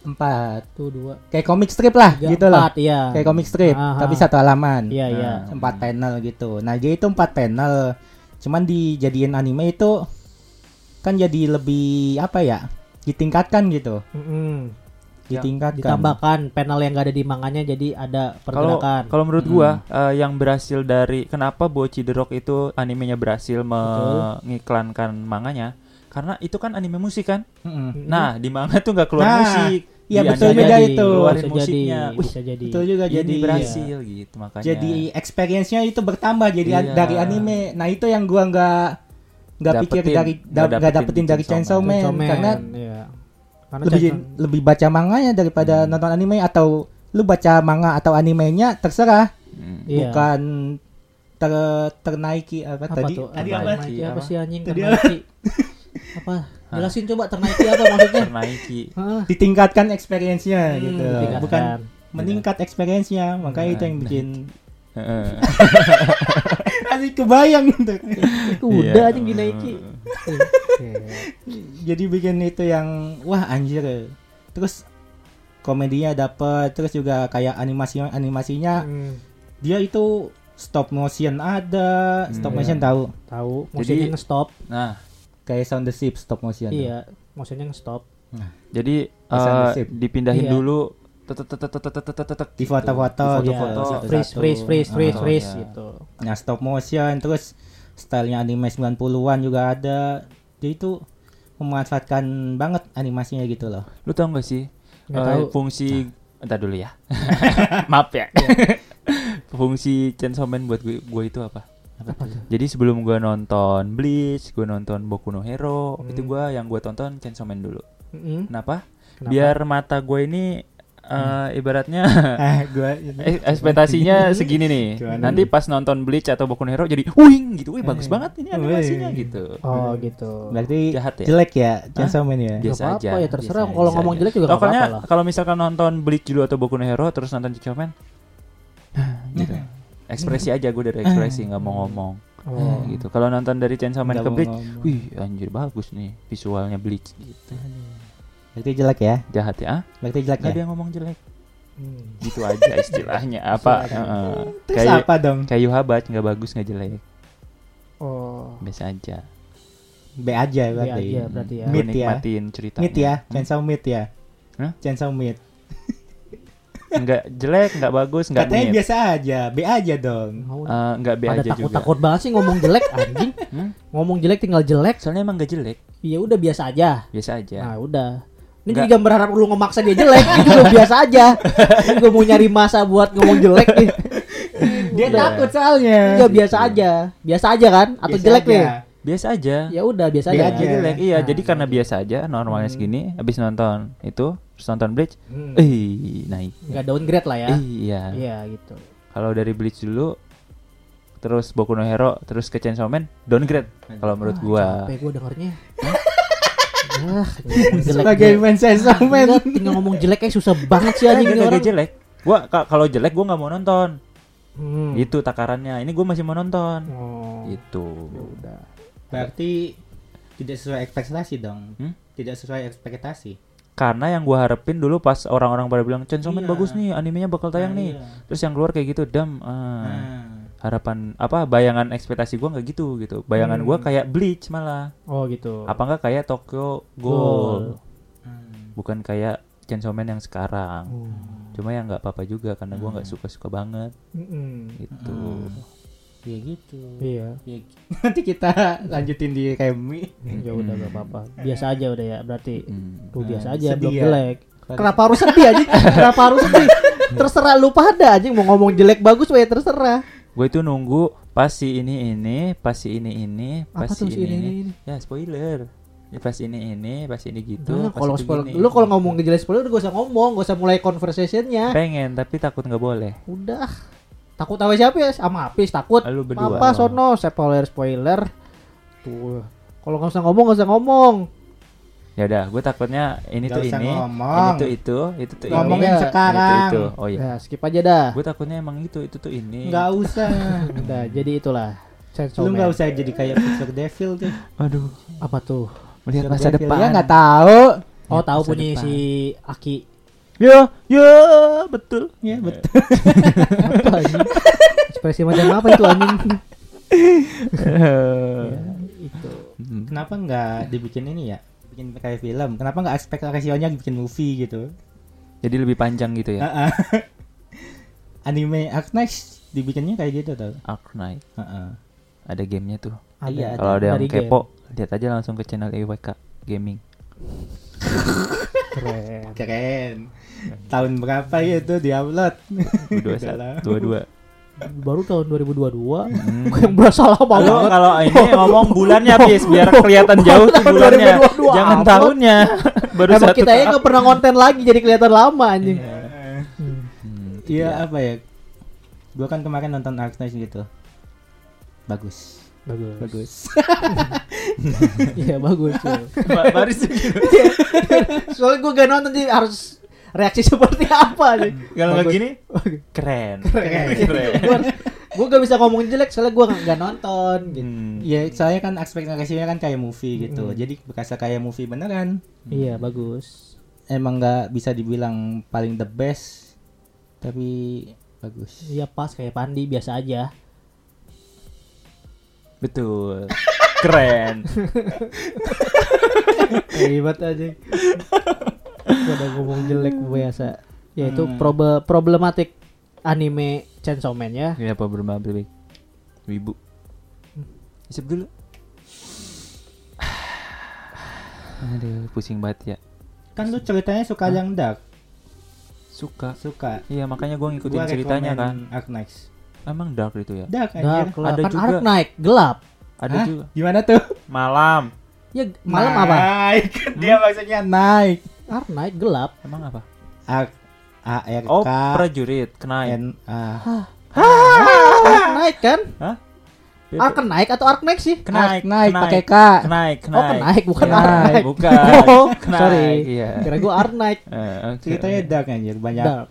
S4: Empat.
S2: Tuh dua,
S4: Kayak comic strip lah
S2: tiga,
S4: gitu loh.
S2: empat, iya.
S4: Kayak comic strip,
S2: Aha.
S4: tapi satu halaman.
S2: Iya, iya.
S5: Nah.
S4: Empat panel gitu. Nah, dia itu empat panel. Cuman dijadiin anime itu kan jadi lebih apa ya? Ditingkatkan gitu.
S2: Mm-mm.
S5: Iya.
S4: Ditingkatkan.
S2: ditambahkan panel yang gak ada di manganya jadi ada
S5: Kalau
S2: pergerakan
S5: kalau menurut gua eh,
S4: Hmm.
S5: yang berhasil dari kenapa Boci The Rock itu animenya berhasil mengiklankan manganya karena itu kan anime musik kan.
S4: Mm-mm.
S2: Mm-mm.
S5: Nah, di manga tuh nggak keluar
S4: Hmm. Nah,
S5: musik.
S4: iya,
S5: Di
S4: betul
S5: anime
S4: juga
S5: di-
S4: itu.
S5: Keluarin
S2: bisa jadi
S5: musiknya. Wih,
S2: bisa jadi iya.
S4: Itu juga
S5: jadi
S4: jadi iya.
S5: berhasil gitu makanya.
S4: jadi experience-nya itu bertambah jadi an-
S5: Iya.
S4: dari anime. Nah, itu yang gua nggak nggak pikir
S5: Dapetin.
S4: dari
S5: Nggak
S4: da- nggak
S5: dapetin
S4: dapetin
S5: di
S4: dari
S5: Chainsaw
S4: Chainsaw Man,
S2: Chainsaw Man,
S4: karena
S2: iya. Karena
S4: lebih
S2: Chainsaw- Hmm.
S4: lebih baca manganya daripada nonton anime atau lu baca manga atau animenya terserah
S5: Hmm.
S2: iya.
S4: bukan ter ternaiki eh, apa,
S2: apa
S4: tadi
S2: tuh
S4: tadi
S5: apa?
S4: apa
S2: Ternaiki, apa,
S5: Apa?
S2: sih anjing
S4: Tadi
S2: ternaiki apa jelasin coba ternaiki apa
S4: iya.
S2: maksudnya
S5: Ternaiki.
S2: Hah?
S4: ditingkatkan experience-nya gitu
S2: Hmm, Ditingkatkan.
S4: bukan meningkat experience-nya makanya itu yang
S5: Nah,
S4: bikin
S5: Heeh.
S4: asli kebayang gitu
S2: udah
S5: Iya.
S2: aja dinaiki Iya.
S4: jadi bikin itu yang wah anjir terus komedinya dapet terus juga kayak animasi animasinya
S2: Hmm,
S4: dia itu stop motion ada stop
S2: iya.
S5: Hmm.
S4: motion tahu
S2: tahu
S5: Jadi-
S2: maksudnya nge-stop
S5: Nah,
S4: kayak sound the ship stop motion
S2: iya maksudnya nge-stop
S5: Jadi
S4: Pesan
S5: eh,
S4: sip.
S5: dipindahin
S2: Iya.
S5: dulu tet- tet- tet- tet- tet- tet- tet- tet-
S4: di
S5: gitu.
S4: foto-foto
S5: Di
S4: gitu
S5: foto-foto.
S4: satu-satu. Ah.
S2: freeze freeze freeze freeze
S5: Oh,
S2: freeze
S5: iya.
S2: gitu
S4: nah stop motion terus stylenya anime 90-an juga ada dia itu memanfaatkan banget animasinya gitu loh
S5: Lu tau gak sih
S2: Nggak
S5: eh,
S2: tahu.
S5: fungsi entar dulu ya. Maaf ya. fungsi Chainsaw Man buat gue, gue itu apa? Jadi sebelum gue nonton Bleach, gue nonton Boku no Hero,
S2: Hmm.
S5: itu gue yang gue tonton Chainsaw Man dulu.
S2: Mm-mm.
S5: Kenapa?
S2: Kenapa?
S5: Biar mata gue ini eh, ibaratnya
S4: eh gua
S5: eh, ekspektasinya segini nih.
S4: Gimana
S5: Nanti pas nonton Bleach atau Boku no Hero jadi wing gitu, wih bagus banget ini animasinya
S4: Wih.
S5: gitu.
S2: oh gitu
S4: berarti
S5: Jahat ya?
S4: jelek ya Chainsaw Man ya
S5: biasa
S2: Nggak
S5: aja.
S2: apa-apa ya, terserah.
S5: biasa
S2: Kalau
S5: aja,
S2: ngomong
S5: biasa
S2: jelek juga
S5: aja.
S2: nggak
S5: Pokoknya
S2: apa-apa lah.
S5: kalau misalkan nonton Bleach dulu atau Boku no Hero terus nonton Chainsaw Man gitu. Ekspresi aja gue dari ekspresi nggak mau ngomong
S2: Oh.
S5: gitu. Kalau nonton dari Chainsaw Man
S4: Nggak
S5: ke
S4: mau
S5: Bleach,
S4: ngomong.
S5: wih anjir bagus nih visualnya Bleach gitu.
S4: berarti jelek ya
S5: Jahat ya? ah?
S4: berarti jelek
S5: Nggak ada
S4: ya
S5: yang ngomong jelek. kan?
S2: Hmm.
S5: Gitu aja istilahnya apa?
S2: Iya.
S5: Heeh.
S4: terus
S5: Kayak
S4: apa dong
S5: kayu habat nggak bagus nggak jelek.
S2: oh
S5: Biasa aja.
S4: B aja
S2: Iya
S4: berarti
S2: aja berarti ya
S5: Gue
S4: Mid ya.
S5: nikmatin ceritanya.
S4: Mid ya Chainsaw Mid ya
S5: Hmm. Hah?
S4: Chainsaw Mid
S5: Nggak jelek, nggak bagus, nggak
S4: katanya
S5: mid.
S4: biasa aja B aja dong
S2: Mau
S5: Eh, nggak B
S2: pada
S5: aja
S2: takut
S5: juga.
S2: takut banget sih ngomong jelek anjing
S5: Hmm?
S2: ngomong jelek tinggal jelek
S5: Soalnya emang nggak jelek,
S2: ya udah biasa aja
S5: biasa aja.
S2: nah udah ini
S5: Iya. Nggak.
S2: juga berharap lu ngemaksa dia jelek itu juga biasa aja ini gue mau nyari masa buat ngomong jelek nih
S4: dia takut soalnya
S2: juga biasa
S5: Iya.
S2: aja biasa aja kan atau
S4: Biasa
S2: jelek
S4: aja.
S2: nih
S5: biasa aja.
S2: ya udah biasa
S4: Biasa
S2: aja
S5: Nggak
S4: aja.
S5: jelek, iya.
S2: Nah,
S5: jadi karena biasa aja, normalnya segini, habis nonton itu, terus nonton Bleach,
S2: Hmm.
S5: eh naik.
S2: nggak downgrade lah ya
S5: Iya.
S2: iya gitu
S5: Kalau dari Bleach dulu terus Boku no Hero, terus ke Chainsaw Man, downgrade kalau menurut gua.
S2: Ah, capek gue dengernya Yah, ngomong jelek
S4: sebagai
S2: jelek.
S4: fans Chainsaw Man
S2: Nggak, tinggal ngomong jelek kayak susah banget sih anjing ini
S5: Nggak, nggak
S2: orang
S5: jelek. Gua ka- kalau jelek gua nggak mau nonton.
S2: Hmm.
S5: Gitu takarannya. Ini gue masih mau nonton.
S2: Oh.
S5: Gitu.
S2: Udah.
S4: Berarti tidak sesuai ekspektasi dong.
S5: Hmm?
S4: Tidak sesuai ekspektasi.
S5: Karena yang gue harapin dulu pas orang-orang pada bilang Chainsaw Man
S4: Iya.
S5: bagus nih, animenya bakal tayang
S4: Nah,
S5: nih.
S4: iya.
S5: Terus yang keluar kayak gitu, dam. ah.
S4: Nah.
S5: Harapan apa? Bayangan ekspektasi gue nggak gitu gitu. Bayangan
S2: Hmm.
S5: gua gue kayak Bleach malah.
S2: Oh gitu.
S5: Apa nggak kayak Tokyo Ghoul?
S4: Ah, hmm.
S5: Bukan kayak Chainsaw Man yang sekarang.
S2: Hmm.
S5: Cuma ya nggak apa-apa juga karena gua nggak suka-suka banget
S2: Mm-mm.
S5: gitu.
S2: Hmm.
S4: Ya gitu.
S2: Iya.
S4: Ya, nanti kita lanjutin di Remi.
S2: Ya udah gak apa-apa. Biasa aja udah ya berarti.
S5: Hmm.
S2: Tuh biasa
S4: Nah,
S2: aja
S4: sedih
S2: belum
S4: ya.
S2: jelek.
S4: Baru-
S2: Kenapa harus sedih aja? Kenapa harus sedih? Terserah lu pada aja mau ngomong jelek bagus ya terserah.
S5: Gue itu nunggu pas si ini ini, pas si ini ini, pas
S2: Apa
S5: si
S2: tuh
S5: ini,
S2: si ini,
S5: ini.
S2: ini?
S5: Ya spoiler. Ya, pas ini ini, pas ini gitu.
S2: Udah lah,
S5: pas
S2: kalau
S5: itu
S2: spoiler,
S5: gini.
S2: lu kalau ngomong jelek spoiler udah gak usah ngomong, gak usah mulai conversationnya.
S5: pengen tapi takut nggak boleh.
S2: Udah. Takut sama siapa ya? Sama Apis takut.
S5: Lu berdua.
S2: Apa sono spoiler spoiler. Tuh. Kalau nggak usah ngomong nggak usah ngomong.
S5: Ya udah, gue takutnya ini
S4: Nggak
S5: tuh
S4: usah
S5: ini,
S4: ngomong.
S5: ini tuh itu, itu tuh
S4: Ngomong
S5: ini,
S4: yang
S2: Iya.
S5: itu
S4: sekarang.
S5: itu. Oh iya.
S2: Ya, skip aja dah.
S5: Gue takutnya emang itu, itu tuh ini.
S4: Nggak usah.
S2: Udah, jadi itulah. Chainsaw Man.
S4: Lu nggak usah jadi kayak Picture Devil tuh.
S5: Aduh,
S2: Apa tuh?
S5: melihat
S4: Picture
S5: masa
S4: Devil.
S5: depan.
S4: Ya nggak tahu.
S2: Oh, tahu
S5: masa
S2: punya
S5: depan.
S2: si Aki.
S5: Ya, ya, betul.
S4: Ya betul.
S2: Apa anjing? Ekspresi macam apa itu anjing? Ya, itu.
S5: Hmm.
S4: Kenapa nggak dibikin ini ya? Bikin kayak film. Kenapa nggak aspek rasionya bikin movie gitu?
S5: Jadi lebih panjang gitu ya.
S4: Heeh. Anime Arc Next dibikinnya kayak gitu tau.
S5: Ark Knight.
S4: Heeh.
S5: Ada gamenya tuh.
S4: Iya,
S5: Kalau ada yang
S2: Dari game.
S5: kepo, lihat aja langsung ke channel EWK Gaming.
S2: Keren.
S4: Keren. Tahun berapa ya itu diupload?
S5: Dua
S4: Udah lah.
S5: dua dua.
S2: Baru tahun 2022.
S5: Hmm.
S2: yang berasa lama
S5: Kalau
S2: banget.
S5: kalau ini ngomong bulannya, Pis, biar kelihatan jauh tuh
S2: Tahun
S5: bulannya.
S2: 2022
S5: Jangan
S2: amat.
S5: tahunnya. Baru
S2: Emang
S5: satu. Iya.
S2: kita ya nggak pernah konten lagi jadi kelihatan lama anjing. Hmm.
S5: Hmm,
S4: Iya apa ya? Gua kan kemarin nonton Arc Next gitu. Bagus.
S2: Bagus.
S4: Bagus.
S2: Iya bagus. ya.
S5: Ba- Baris gitu.
S2: Soalnya gue gak nonton jadi harus reaksi seperti apa nih.
S5: Kalau nggak gini, keren.
S2: Iya,
S5: Keren.
S2: gue gak bisa ngomong jelek soalnya gue gak nonton gitu.
S5: Hmm.
S4: Iya, soalnya kan aspek narasinya kan kayak movie gitu. Jadi berasa kayak movie beneran.
S2: Iya bagus.
S4: Emang nggak bisa dibilang paling the best, tapi bagus.
S2: Iya pas kayak Pandi biasa aja.
S5: Betul. Keren.
S2: Hebat aja. Gua udah ngomong jelek biasa. Yaitu
S5: Hmm.
S2: probe problematik anime Chainsaw Man ya.
S5: Ini Iya, apa bermaaf beli? Wibu. Isep dulu. Aduh, pusing banget ya.
S4: Kan lu ceritanya suka yang dark,
S5: Suka.
S4: suka.
S5: Iya, makanya gua ngikutin
S4: Gua
S5: ceritanya kan.
S4: rekomen Arc Next.
S5: Emang dark itu ya?
S4: Dark anjir.
S2: Dark lah.
S5: Ada
S2: Kan
S5: juga.
S2: Ark Knight gelap.
S5: Ada
S4: Hah?
S5: juga.
S4: Gimana tuh?
S5: Malam.
S2: Ya malam apa?
S5: Nah.
S4: Naik.
S5: Hmm?
S4: Dia maksudnya naik.
S2: Ark Knight gelap.
S5: Emang apa?
S4: Arc A R
S5: Oh,
S4: K
S5: prajurit. Knight.
S4: N A.
S2: Ark Knight kan?
S5: Ah. Hah?
S2: Ark Knight atau Ark Knight sih?
S5: Knight,
S4: Knight pakai K.
S5: Knight,
S2: Oh, Knight, bukan
S5: Iya,
S2: Knight.
S5: bukan.
S2: Oh,
S5: Knight,
S2: sorry.
S5: Iya.
S2: Kira gue Ark Knight.
S5: Eh, oke.
S4: Ceritanya dark anjir,
S5: Ya.
S4: banyak
S2: Dark.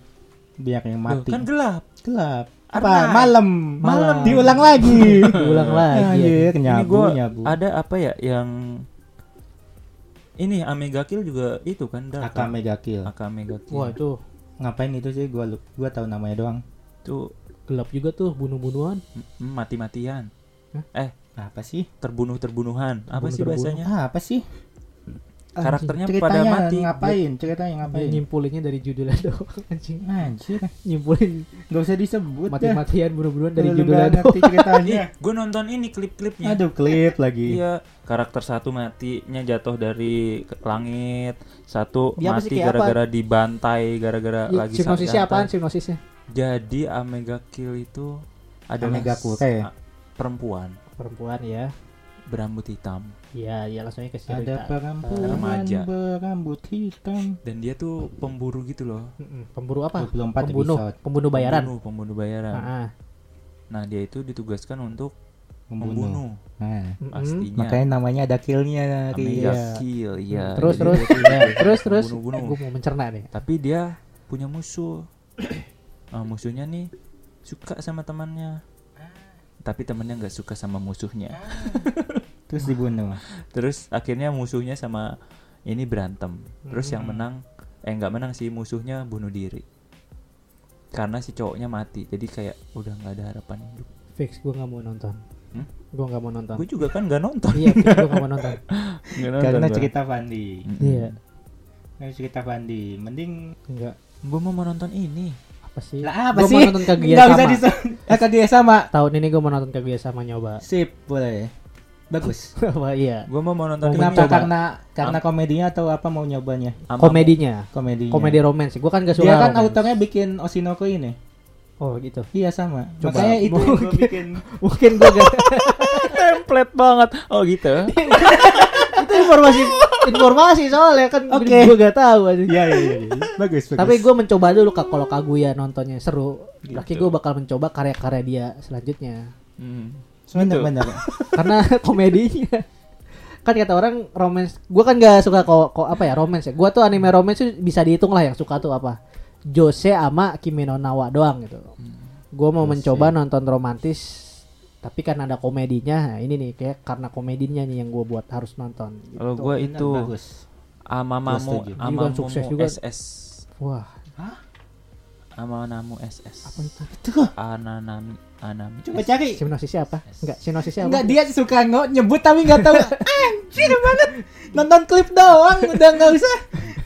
S4: banyak yang
S5: Loh,
S4: mati.
S5: kan gelap.
S4: Gelap.
S5: Arc
S4: Apa?
S5: Knight.
S4: Malam.
S2: Malam.
S4: Diulang lagi.
S2: Diulang lagi.
S4: Anjir,
S5: ini
S4: nyabu,
S5: gua
S4: nyabu.
S5: ada apa ya yang ini Omega Kill juga itu kan dark.
S4: Aka Mega Kill.
S5: Aka Omega Kill.
S2: Wah itu
S4: Ngapain itu sih gua lu- gua tahu namanya doang.
S5: Tuh
S2: gelap juga tuh bunuh-bunuhan.
S5: mm, mati-matian.
S2: Hah?
S5: Eh,
S4: Apa sih?
S5: terbunuh-terbunuhan. Apa sih
S2: Terbunuh-terbunuh. Ah,
S5: bahasanya?
S4: Ah, apa sih?
S5: Karakternya pada
S4: Ceritanya
S5: mati.
S4: ngapain? Ceritanya ngapain?
S2: Nyimpulinnya dari judulnya doang anjing.
S4: Anjir,
S2: Nyimpulin
S4: gak usah disebut dah.
S2: mati-matian bunuh-bunuhan dari
S4: Lu
S2: judulnya Iya.
S4: nggak
S2: doang.
S4: ngerti
S2: ya?
S4: ceritanya.
S5: Gue nonton ini klip-klipnya.
S4: Aduh, klip lagi.
S5: Iya, karakter satu matinya jatuh dari ke- langit, satu
S2: Dia apa sih,
S5: mati
S2: kayak apa?
S5: gara-gara dibantai, gara-gara
S2: Ya,
S5: lagi
S2: Sinopsisnya
S5: saat
S2: apaan
S5: bantai.
S2: sinopsisnya?
S5: Jadi Omega Kill itu adalah
S4: Omega
S5: s-
S4: Kure.
S5: a- perempuan
S2: Perempuan ya.
S5: berambut hitam
S2: Iya, ya langsungnya ke cerita.
S4: Ada perempuan
S5: Remaja.
S4: berambut hitam.
S5: dan dia tuh pemburu gitu loh.
S2: Mm-mm. Pemburu apa?
S4: 24
S2: pembunuh,
S4: episode.
S2: pembunuh bayaran.
S5: Pembunuh, Nah, pembunuh bayaran.
S2: Heeh.
S5: Nah, dia itu ditugaskan untuk
S4: Membunuh.
S5: membunuh,
S4: Nah,
S2: Mm-mm.
S5: pastinya.
S4: makanya namanya ada killnya
S5: Omega
S4: Ria.
S5: Kill, iya.
S2: Terus,
S5: Jadi
S2: terus.
S5: dia tuh
S2: Terus terus Eh,
S5: Bunuh-bunuh.
S2: gue mau mencerna nih.
S5: Tapi dia punya musuh. Ah, Eh, musuhnya nih suka sama temannya tapi temannya nggak suka sama musuhnya
S4: Terus dibunuh.
S5: terus akhirnya musuhnya sama ini berantem terus yang menang eh nggak menang sih musuhnya bunuh diri karena si cowoknya mati jadi kayak udah nggak ada harapan hidup
S2: Fix gue nggak mau nonton.
S5: Hmm?
S2: Gue nggak mau nonton.
S5: gue juga kan nggak nonton
S2: Iya, fix gue nggak mau nonton.
S5: Nggak nonton
S4: Karena
S5: gua.
S4: cerita Fandi.
S5: Mm-mm.
S2: Iya,
S4: Karena cerita Fandi. Mending
S2: enggak
S5: Gua mau mau nonton ini
S2: apa sih?
S4: lah
S2: Iya.
S4: apa
S2: Gua
S4: sih?
S2: mau nonton Kaguya
S4: Nggak
S2: sama.
S4: bisa dis- Eh, Kaguya sama.
S2: Tahun ini gue mau nonton Kaguya sama nyoba.
S4: Sip, boleh. Bagus.
S2: Apa iya?
S5: Gua mau mau nonton ini.
S4: Kenapa?
S2: coba.
S4: Karena karena komedinya atau apa mau nyobanya?
S5: Sama-
S2: Komedinya.
S4: Komedinya.
S2: Komedi romance. Gue kan gak suka.
S4: Dia kan
S2: romance.
S4: autornya bikin Oshinoko ini.
S2: Oh gitu.
S4: Iya sama.
S2: Coba.
S4: Makanya itu yang gua bikin.
S2: Mungkin gue gak
S5: template banget oh gitu
S2: itu informasi informasi soalnya kan
S4: Oke.
S2: gue gak tahu aja.
S4: Iya iya iya. Bagus bagus.
S2: Tapi gue mencoba dulu Kak, kalau Kaguya nontonnya seru.
S4: Gitu.
S2: Laki gue bakal mencoba karya-karya dia selanjutnya.
S5: Hmm.
S4: bener bener.
S2: karena komedinya kan kata orang romance gua kan gak suka kok kok apa ya romance ya gua tuh anime romance tuh bisa dihitung lah yang suka tuh apa Jose ama Kimi no Nawa doang gitu gua mau mencoba nonton romantis tapi karena ada komedinya nah ini nih kayak karena komedinya nih yang gua buat harus nonton gitu.
S5: kalau gua
S4: Bener,
S5: itu
S4: bagus.
S5: ama
S4: Gua
S5: mamu
S4: setuju.
S5: ama
S2: Ini kan sukses juga.
S5: SS
S2: wah
S5: ama namu SS
S2: apa itu
S4: Itu kok.
S5: ananami anami
S4: Coba cari.
S2: Shinosis apa enggak Shinosis apa
S4: Enggak dia suka ngo- nyebut tapi nggak tahu. Anjir banget. Nonton klip doang udah nggak usah.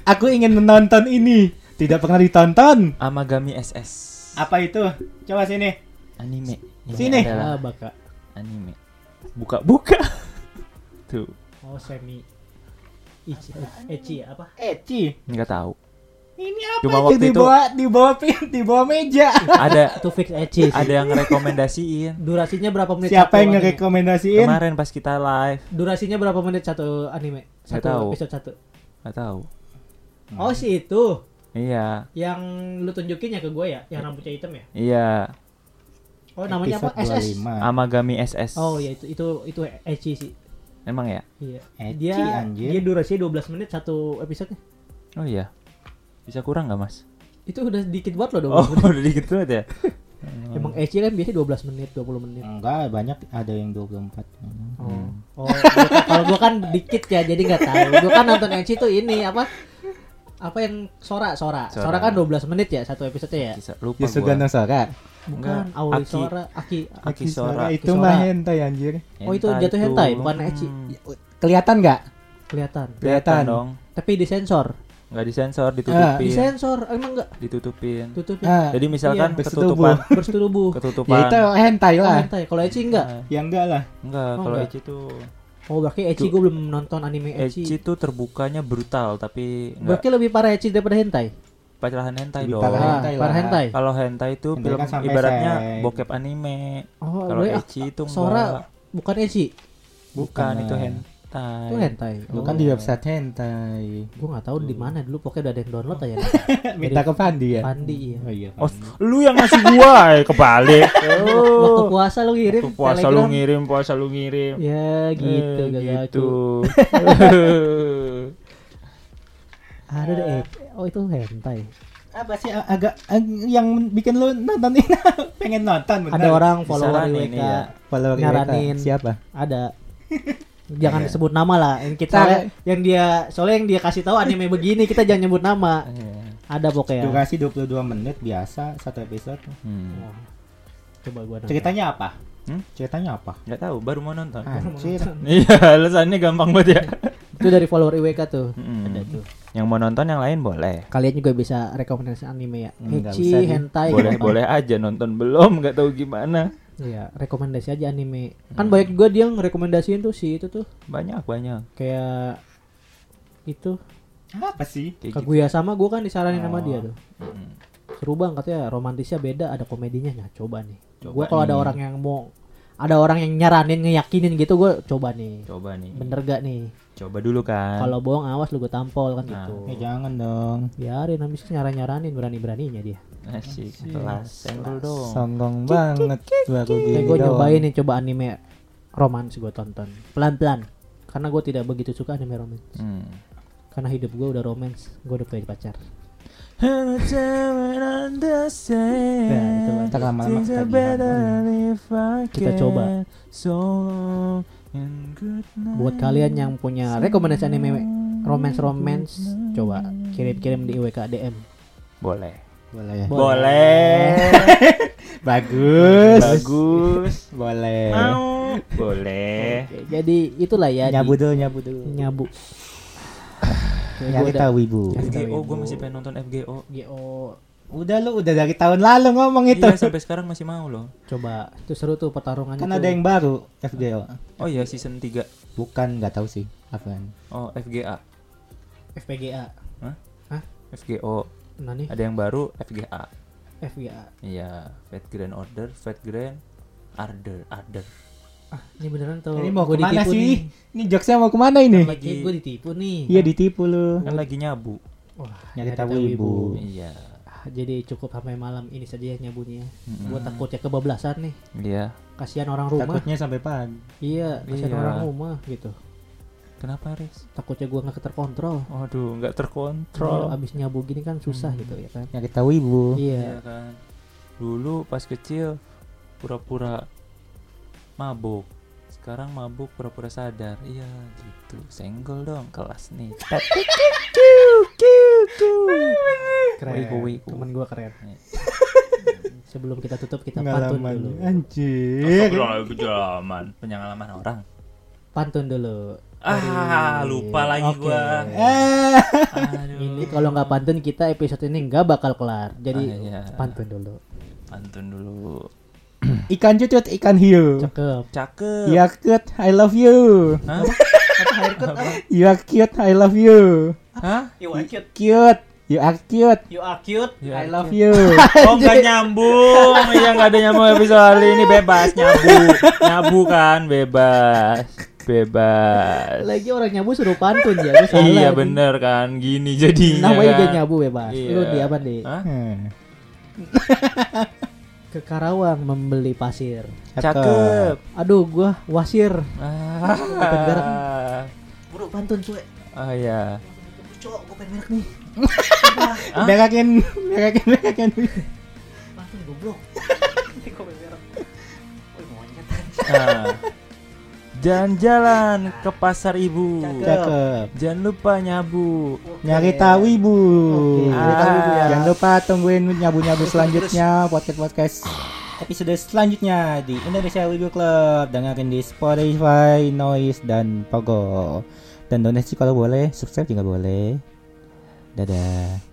S4: Aku ingin menonton ini. Tidak pernah ditonton.
S5: amagami SS
S4: Apa itu? Coba sini.
S5: anime Ini
S4: Sini.
S5: adalah
S2: ah baka
S5: anime buka buka tuh
S2: oh semi Ichi, Echi ya, apa?
S4: Eci.
S5: nggak tahu
S4: Eh, Ini apa?
S5: Cuma
S4: Cuma
S5: waktu
S4: di
S5: itu-
S4: bawah di bawah pi- di bawah meja.
S5: ada
S2: Itu fix Echi. sih.
S5: ada yang rekomendasiin
S2: Durasinya berapa menit?
S4: Siapa
S2: satu
S4: yang
S2: anime?
S4: ngerekomendasiin?
S5: kemarin pas kita live
S2: Durasinya berapa menit satu anime?
S5: Nggak
S2: Satu
S5: tahu. Hmm.
S2: episode satu.
S5: nggak tahu
S2: Oh si itu
S5: iya
S2: yang lu tunjukin ya ke gue ya, yang rambutnya hitam ya.
S5: iya
S2: Oh namanya apa?
S4: Episode
S2: SS.
S4: 25.
S5: Ah. amagami SS
S2: Oh ya itu itu itu Echi sih.
S5: emang ya
S2: Iya.
S4: Ecchi,
S2: dia
S4: anjir.
S2: dia durasinya 12 menit satu episode
S5: oh iya bisa kurang nggak mas
S2: Itu udah dikit buat lo 12
S5: oh
S2: menit.
S5: udah dikit banget ya
S2: Emang Echi kan biasanya 12 menit, 20 menit.
S4: Enggak, banyak ada yang 24. Hmm.
S2: Oh. Oh, gua- kalau gue kan dikit ya, jadi nggak tahu. Gue kan nonton Echi tuh ini apa? Apa yang Sora, Sora. Sora,
S5: Sora.
S2: kan 12 menit ya satu episode ya?
S5: Bisa, lupa
S4: Yusugano
S5: gua.
S4: Sora.
S5: Enggak,
S2: Bukan, Aoi
S5: Aki.
S2: Sora, Aki.
S5: Aki Sora.
S4: itu
S2: Sora.
S4: mah hentai anjir.
S2: Oh, itu
S5: Hentai
S2: jatuh
S5: itu.
S2: hentai, bukan Ya, ecchi.
S5: Hmm,
S4: Kelihatan nggak?
S2: Kelihatan.
S5: Kelihatan
S4: Kelihatan.
S5: dong.
S2: Tapi disensor.
S5: Nggak disensor, ditutupin.
S2: Disensor, Oh, emang enggak
S5: ditutupin.
S2: tutup ya?
S4: Ah,
S5: Jadi misalkan Iya
S4: Iya.
S5: ketutupan,
S2: bersetubuh tubuh.
S5: ketutupan.
S4: ya itu hentai
S2: Oh,
S4: lah.
S2: hentai. Kalau Eci
S5: Ah.
S2: enggak?
S4: Ya enggak lah.
S5: Enggak,
S2: Oh,
S5: kalau
S2: enggak.
S5: Eci tuh
S2: Oh, berarti Eci
S5: Tuh.
S2: gue belum nonton anime
S5: Eci
S2: Eci.
S5: tuh terbukanya brutal tapi enggak
S2: Berarti lebih parah Eci daripada hentai.
S5: pacaran hentai
S4: Lebih
S5: dong.
S4: parah
S2: Ah,
S4: hentai
S2: parah
S4: lah.
S2: hentai.
S5: Kalau hentai itu
S4: Hentai
S5: film
S4: kan sampai
S5: ibaratnya
S4: seks.
S5: bokep anime.
S2: Oh,
S5: Kalau
S2: gue-
S5: Eci itu enggak.
S2: Sora bukan Eci.
S5: bukan
S4: Bukan.
S5: itu hentai.
S2: Itu hentai.
S4: Bukan kan di website hentai.
S2: Gue nggak tahu di mana dulu pokoknya udah ada yang download aja.
S4: Minta ke Fandi ya.
S2: Pandi iya.
S4: Oh iya.
S5: Oh, lu yang ngasih gua eh, kebalik.
S2: Waktu
S5: Oh.
S2: puasa lu ngirim
S5: Waktu puasa lu
S2: Telegram.
S5: ngirim, puasa lu ngirim.
S2: Ya gitu
S5: Eh,
S2: gak
S5: gitu.
S2: gitu. Ada deh. Eci. Oh itu hentai.
S4: Apa sih a- agak ag- yang bikin lu nonton ini? Pengen nonton benar.
S2: Ada orang follower
S5: Disaranin
S2: WK.
S5: ya.
S4: follower mereka.
S2: nyaranin.
S4: Siapa?
S2: Ada. Jangan disebut nama lah. Yang kita
S4: Soalnya-
S2: yang dia soalnya yang dia kasih tahu anime begini kita jangan nyebut nama.
S5: Iya.
S2: Ada pokoknya.
S4: Durasi 22 menit biasa satu episode.
S5: Hmm.
S2: Wah. Coba gua nonton.
S4: Ceritanya apa?
S5: Hmm?
S4: Ceritanya apa?
S5: Nggak tahu, baru mau nonton.
S4: Anjir.
S5: Iya, alasannya gampang banget ya.
S2: Itu dari follower IWK tuh.
S5: Mm-mm.
S2: Ada tuh.
S5: Yang mau nonton yang lain boleh.
S2: Kalian juga bisa rekomendasi anime ya.
S4: Nggak
S2: Ecchi,
S4: usah, Di.
S2: hentai.
S5: Boleh
S2: apa.
S5: boleh aja nonton belum nggak tahu gimana.
S2: Iya, rekomendasi aja anime. Kan banyak juga dia ngerekomendasiin tuh si itu tuh
S5: Banyak banyak.
S2: kayak itu
S4: Apa sih?
S5: Kayak gitu.
S2: Kaguya sama gue kan disaranin sama
S4: Oh.
S2: dia tuh.
S5: Mm.
S2: Seru bang katanya romantisnya beda ada komedinya. Nah, coba nih.
S5: Coba
S2: Gue kalau ada
S5: nih.
S2: orang yang mau ada orang yang nyaranin ngeyakinin gitu gue coba nih.
S5: Coba nih.
S2: Bener gak nih?
S5: Coba dulu kan.
S2: Kalau bohong awas lu gue tampol kan
S5: Nah.
S2: gitu.
S4: Ya jangan dong.
S2: Biarin habis itu nyaran-nyaranin berani-beraninya dia.
S5: Asik. Kelas senggol dong.
S4: Sombong banget baru
S2: Kayak
S4: gini
S2: gue
S4: doang.
S2: Eh, nyobain nih coba anime romance gue tonton. Pelan-pelan. Karena gue tidak begitu suka anime romance.
S5: Hmm.
S2: Karena hidup gue udah romance, gue udah punya pacar.
S5: Nah, itu
S4: Nah, ntar lama-lama
S5: Things are
S4: ketagihan.
S5: better if I
S2: Kita
S5: can.
S2: coba.
S5: So long and good night.
S2: Buat kalian yang punya rekomendasi anime romance-romance, coba kirim-kirim di IWK DM.
S5: boleh.
S4: Boleh.
S5: Boleh.
S4: Bagus.
S5: Bagus.
S4: Boleh.
S5: Mau. Boleh.
S2: Oke, Jadi itulah ya
S4: Eh. Nyabu
S2: di-
S4: dulu, nyabu dulu.
S2: nyabu. Oke, gua
S4: Nyari
S2: udah-
S4: tahu ibu.
S5: FGO gue masih pengen nonton FGO.
S2: GO
S4: Udah lu udah dari tahun lalu ngomong itu.
S5: Iya sampai sekarang masih mau loh.
S2: coba itu seru tuh pertarungannya.
S4: kan
S2: tuh.
S4: ada yang baru FGO.
S5: Oh iya season 3.
S4: Bukan nggak tahu sih apaan.
S5: Oh FGA.
S2: FPGA.
S5: FGO.
S2: Nah nih
S5: Ada yang baru FGA.
S2: FGA.
S5: Iya, Fat Grand Order, Fat Grand Order, Order.
S2: Ah, ini beneran tuh.
S4: ini mau
S2: gua
S4: kemana
S2: ditipu
S4: sih?
S2: nih.
S4: Ini jokesnya mau kemana ini?
S2: Lagi gue ditipu nih.
S4: Iya ditipu lu.
S5: Kan lagi nyabu.
S2: Wah,
S4: Nyari
S2: nyari
S4: tahu
S2: tahu
S4: ibu.
S5: Iya.
S2: Ah, Jadi cukup sampai malam ini saja ya nyabunya. Gua takutnya kebablasan nih.
S5: Iya.
S2: Kasihan orang rumah.
S4: Takutnya sampai pagi.
S2: Iya, kasihan
S5: Iya.
S2: orang rumah gitu.
S5: Kenapa, Riz?
S2: Takutnya gua nggak terkontrol.
S5: Waduh, nggak
S2: Kalau
S5: terkontrol.
S2: abis nyabu gini kan susah gitu ya kan.
S4: Nyari tahu ibu.
S2: Iya.
S5: Iya kan. Dulu pas kecil pura-pura mabuk. Sekarang mabuk pura-pura sadar. Iya, gitu. Senggol dong kelas nih. Tet. Wih,
S2: Keren.
S5: wih, wih.
S2: Temen gua keren.
S5: Iya.
S2: Sebelum kita tutup kita
S4: Nggak
S2: pantun dulu.
S4: lama nih.
S5: Iya, kan?
S4: Anjir.
S3: kejalaman penyengalaman orang.
S2: Pantun dulu.
S3: Ah,
S2: Dari-
S3: lupa lagi
S2: Oke.
S3: gua.
S4: Eh.
S3: Aduh.
S2: Ini kalau nggak pantun kita episode ini nggak bakal kelar.
S5: Ah,
S2: Jadi
S5: iya.
S2: pantun dulu.
S5: Pantun dulu.
S4: Ikan cucut, ikan hiu.
S2: Cakep.
S5: Cakep.
S4: You are cute, I love you.
S5: Hah?
S4: You are cute, I love you.
S5: Hah?
S2: You are cute.
S4: Cute, you are cute,
S2: You are cute.
S5: Ya,
S4: I love you.
S5: Oh nggak nyambung, iya nggak ada nyambung episode kali ini bebas nyabu, nyabu kan bebas, bebas.
S2: Lagi orang nyabu suruh pantun ya. gua salah
S5: iya
S2: nih.
S5: bener kan, gini jadinya.
S2: Namanya
S5: kan.
S2: dia nyabu bebas. Lu
S5: Iya.
S2: di apa nih?
S5: Hah?
S4: Hmm,
S2: Ke Karawang membeli pasir.
S5: Cakep.
S2: Aduh, gua wasir.
S5: Ah,
S2: Bro, pantun cuy.
S5: oh iya.
S2: Cok, gua pengen merek nih.
S4: Berakin, berakin, berakin.
S2: Pantun goblok. Ini gua pengen merek. Woi, monyet.
S5: Ah. Jalan-jalan ke pasar ibu.
S4: Cakep.
S5: Jangan lupa nyabu.
S4: Nyari tahu ibu.
S2: Oke, nyari tahu ibu ya.
S4: Jangan lupa tungguin nyabu-nyabu selanjutnya podcast-podcast episode selanjutnya di Indonesia Wibu Club. Dengerin di Spotify, Noise dan Pogo. Dan donasi kalau boleh, subscribe juga boleh. Dadah.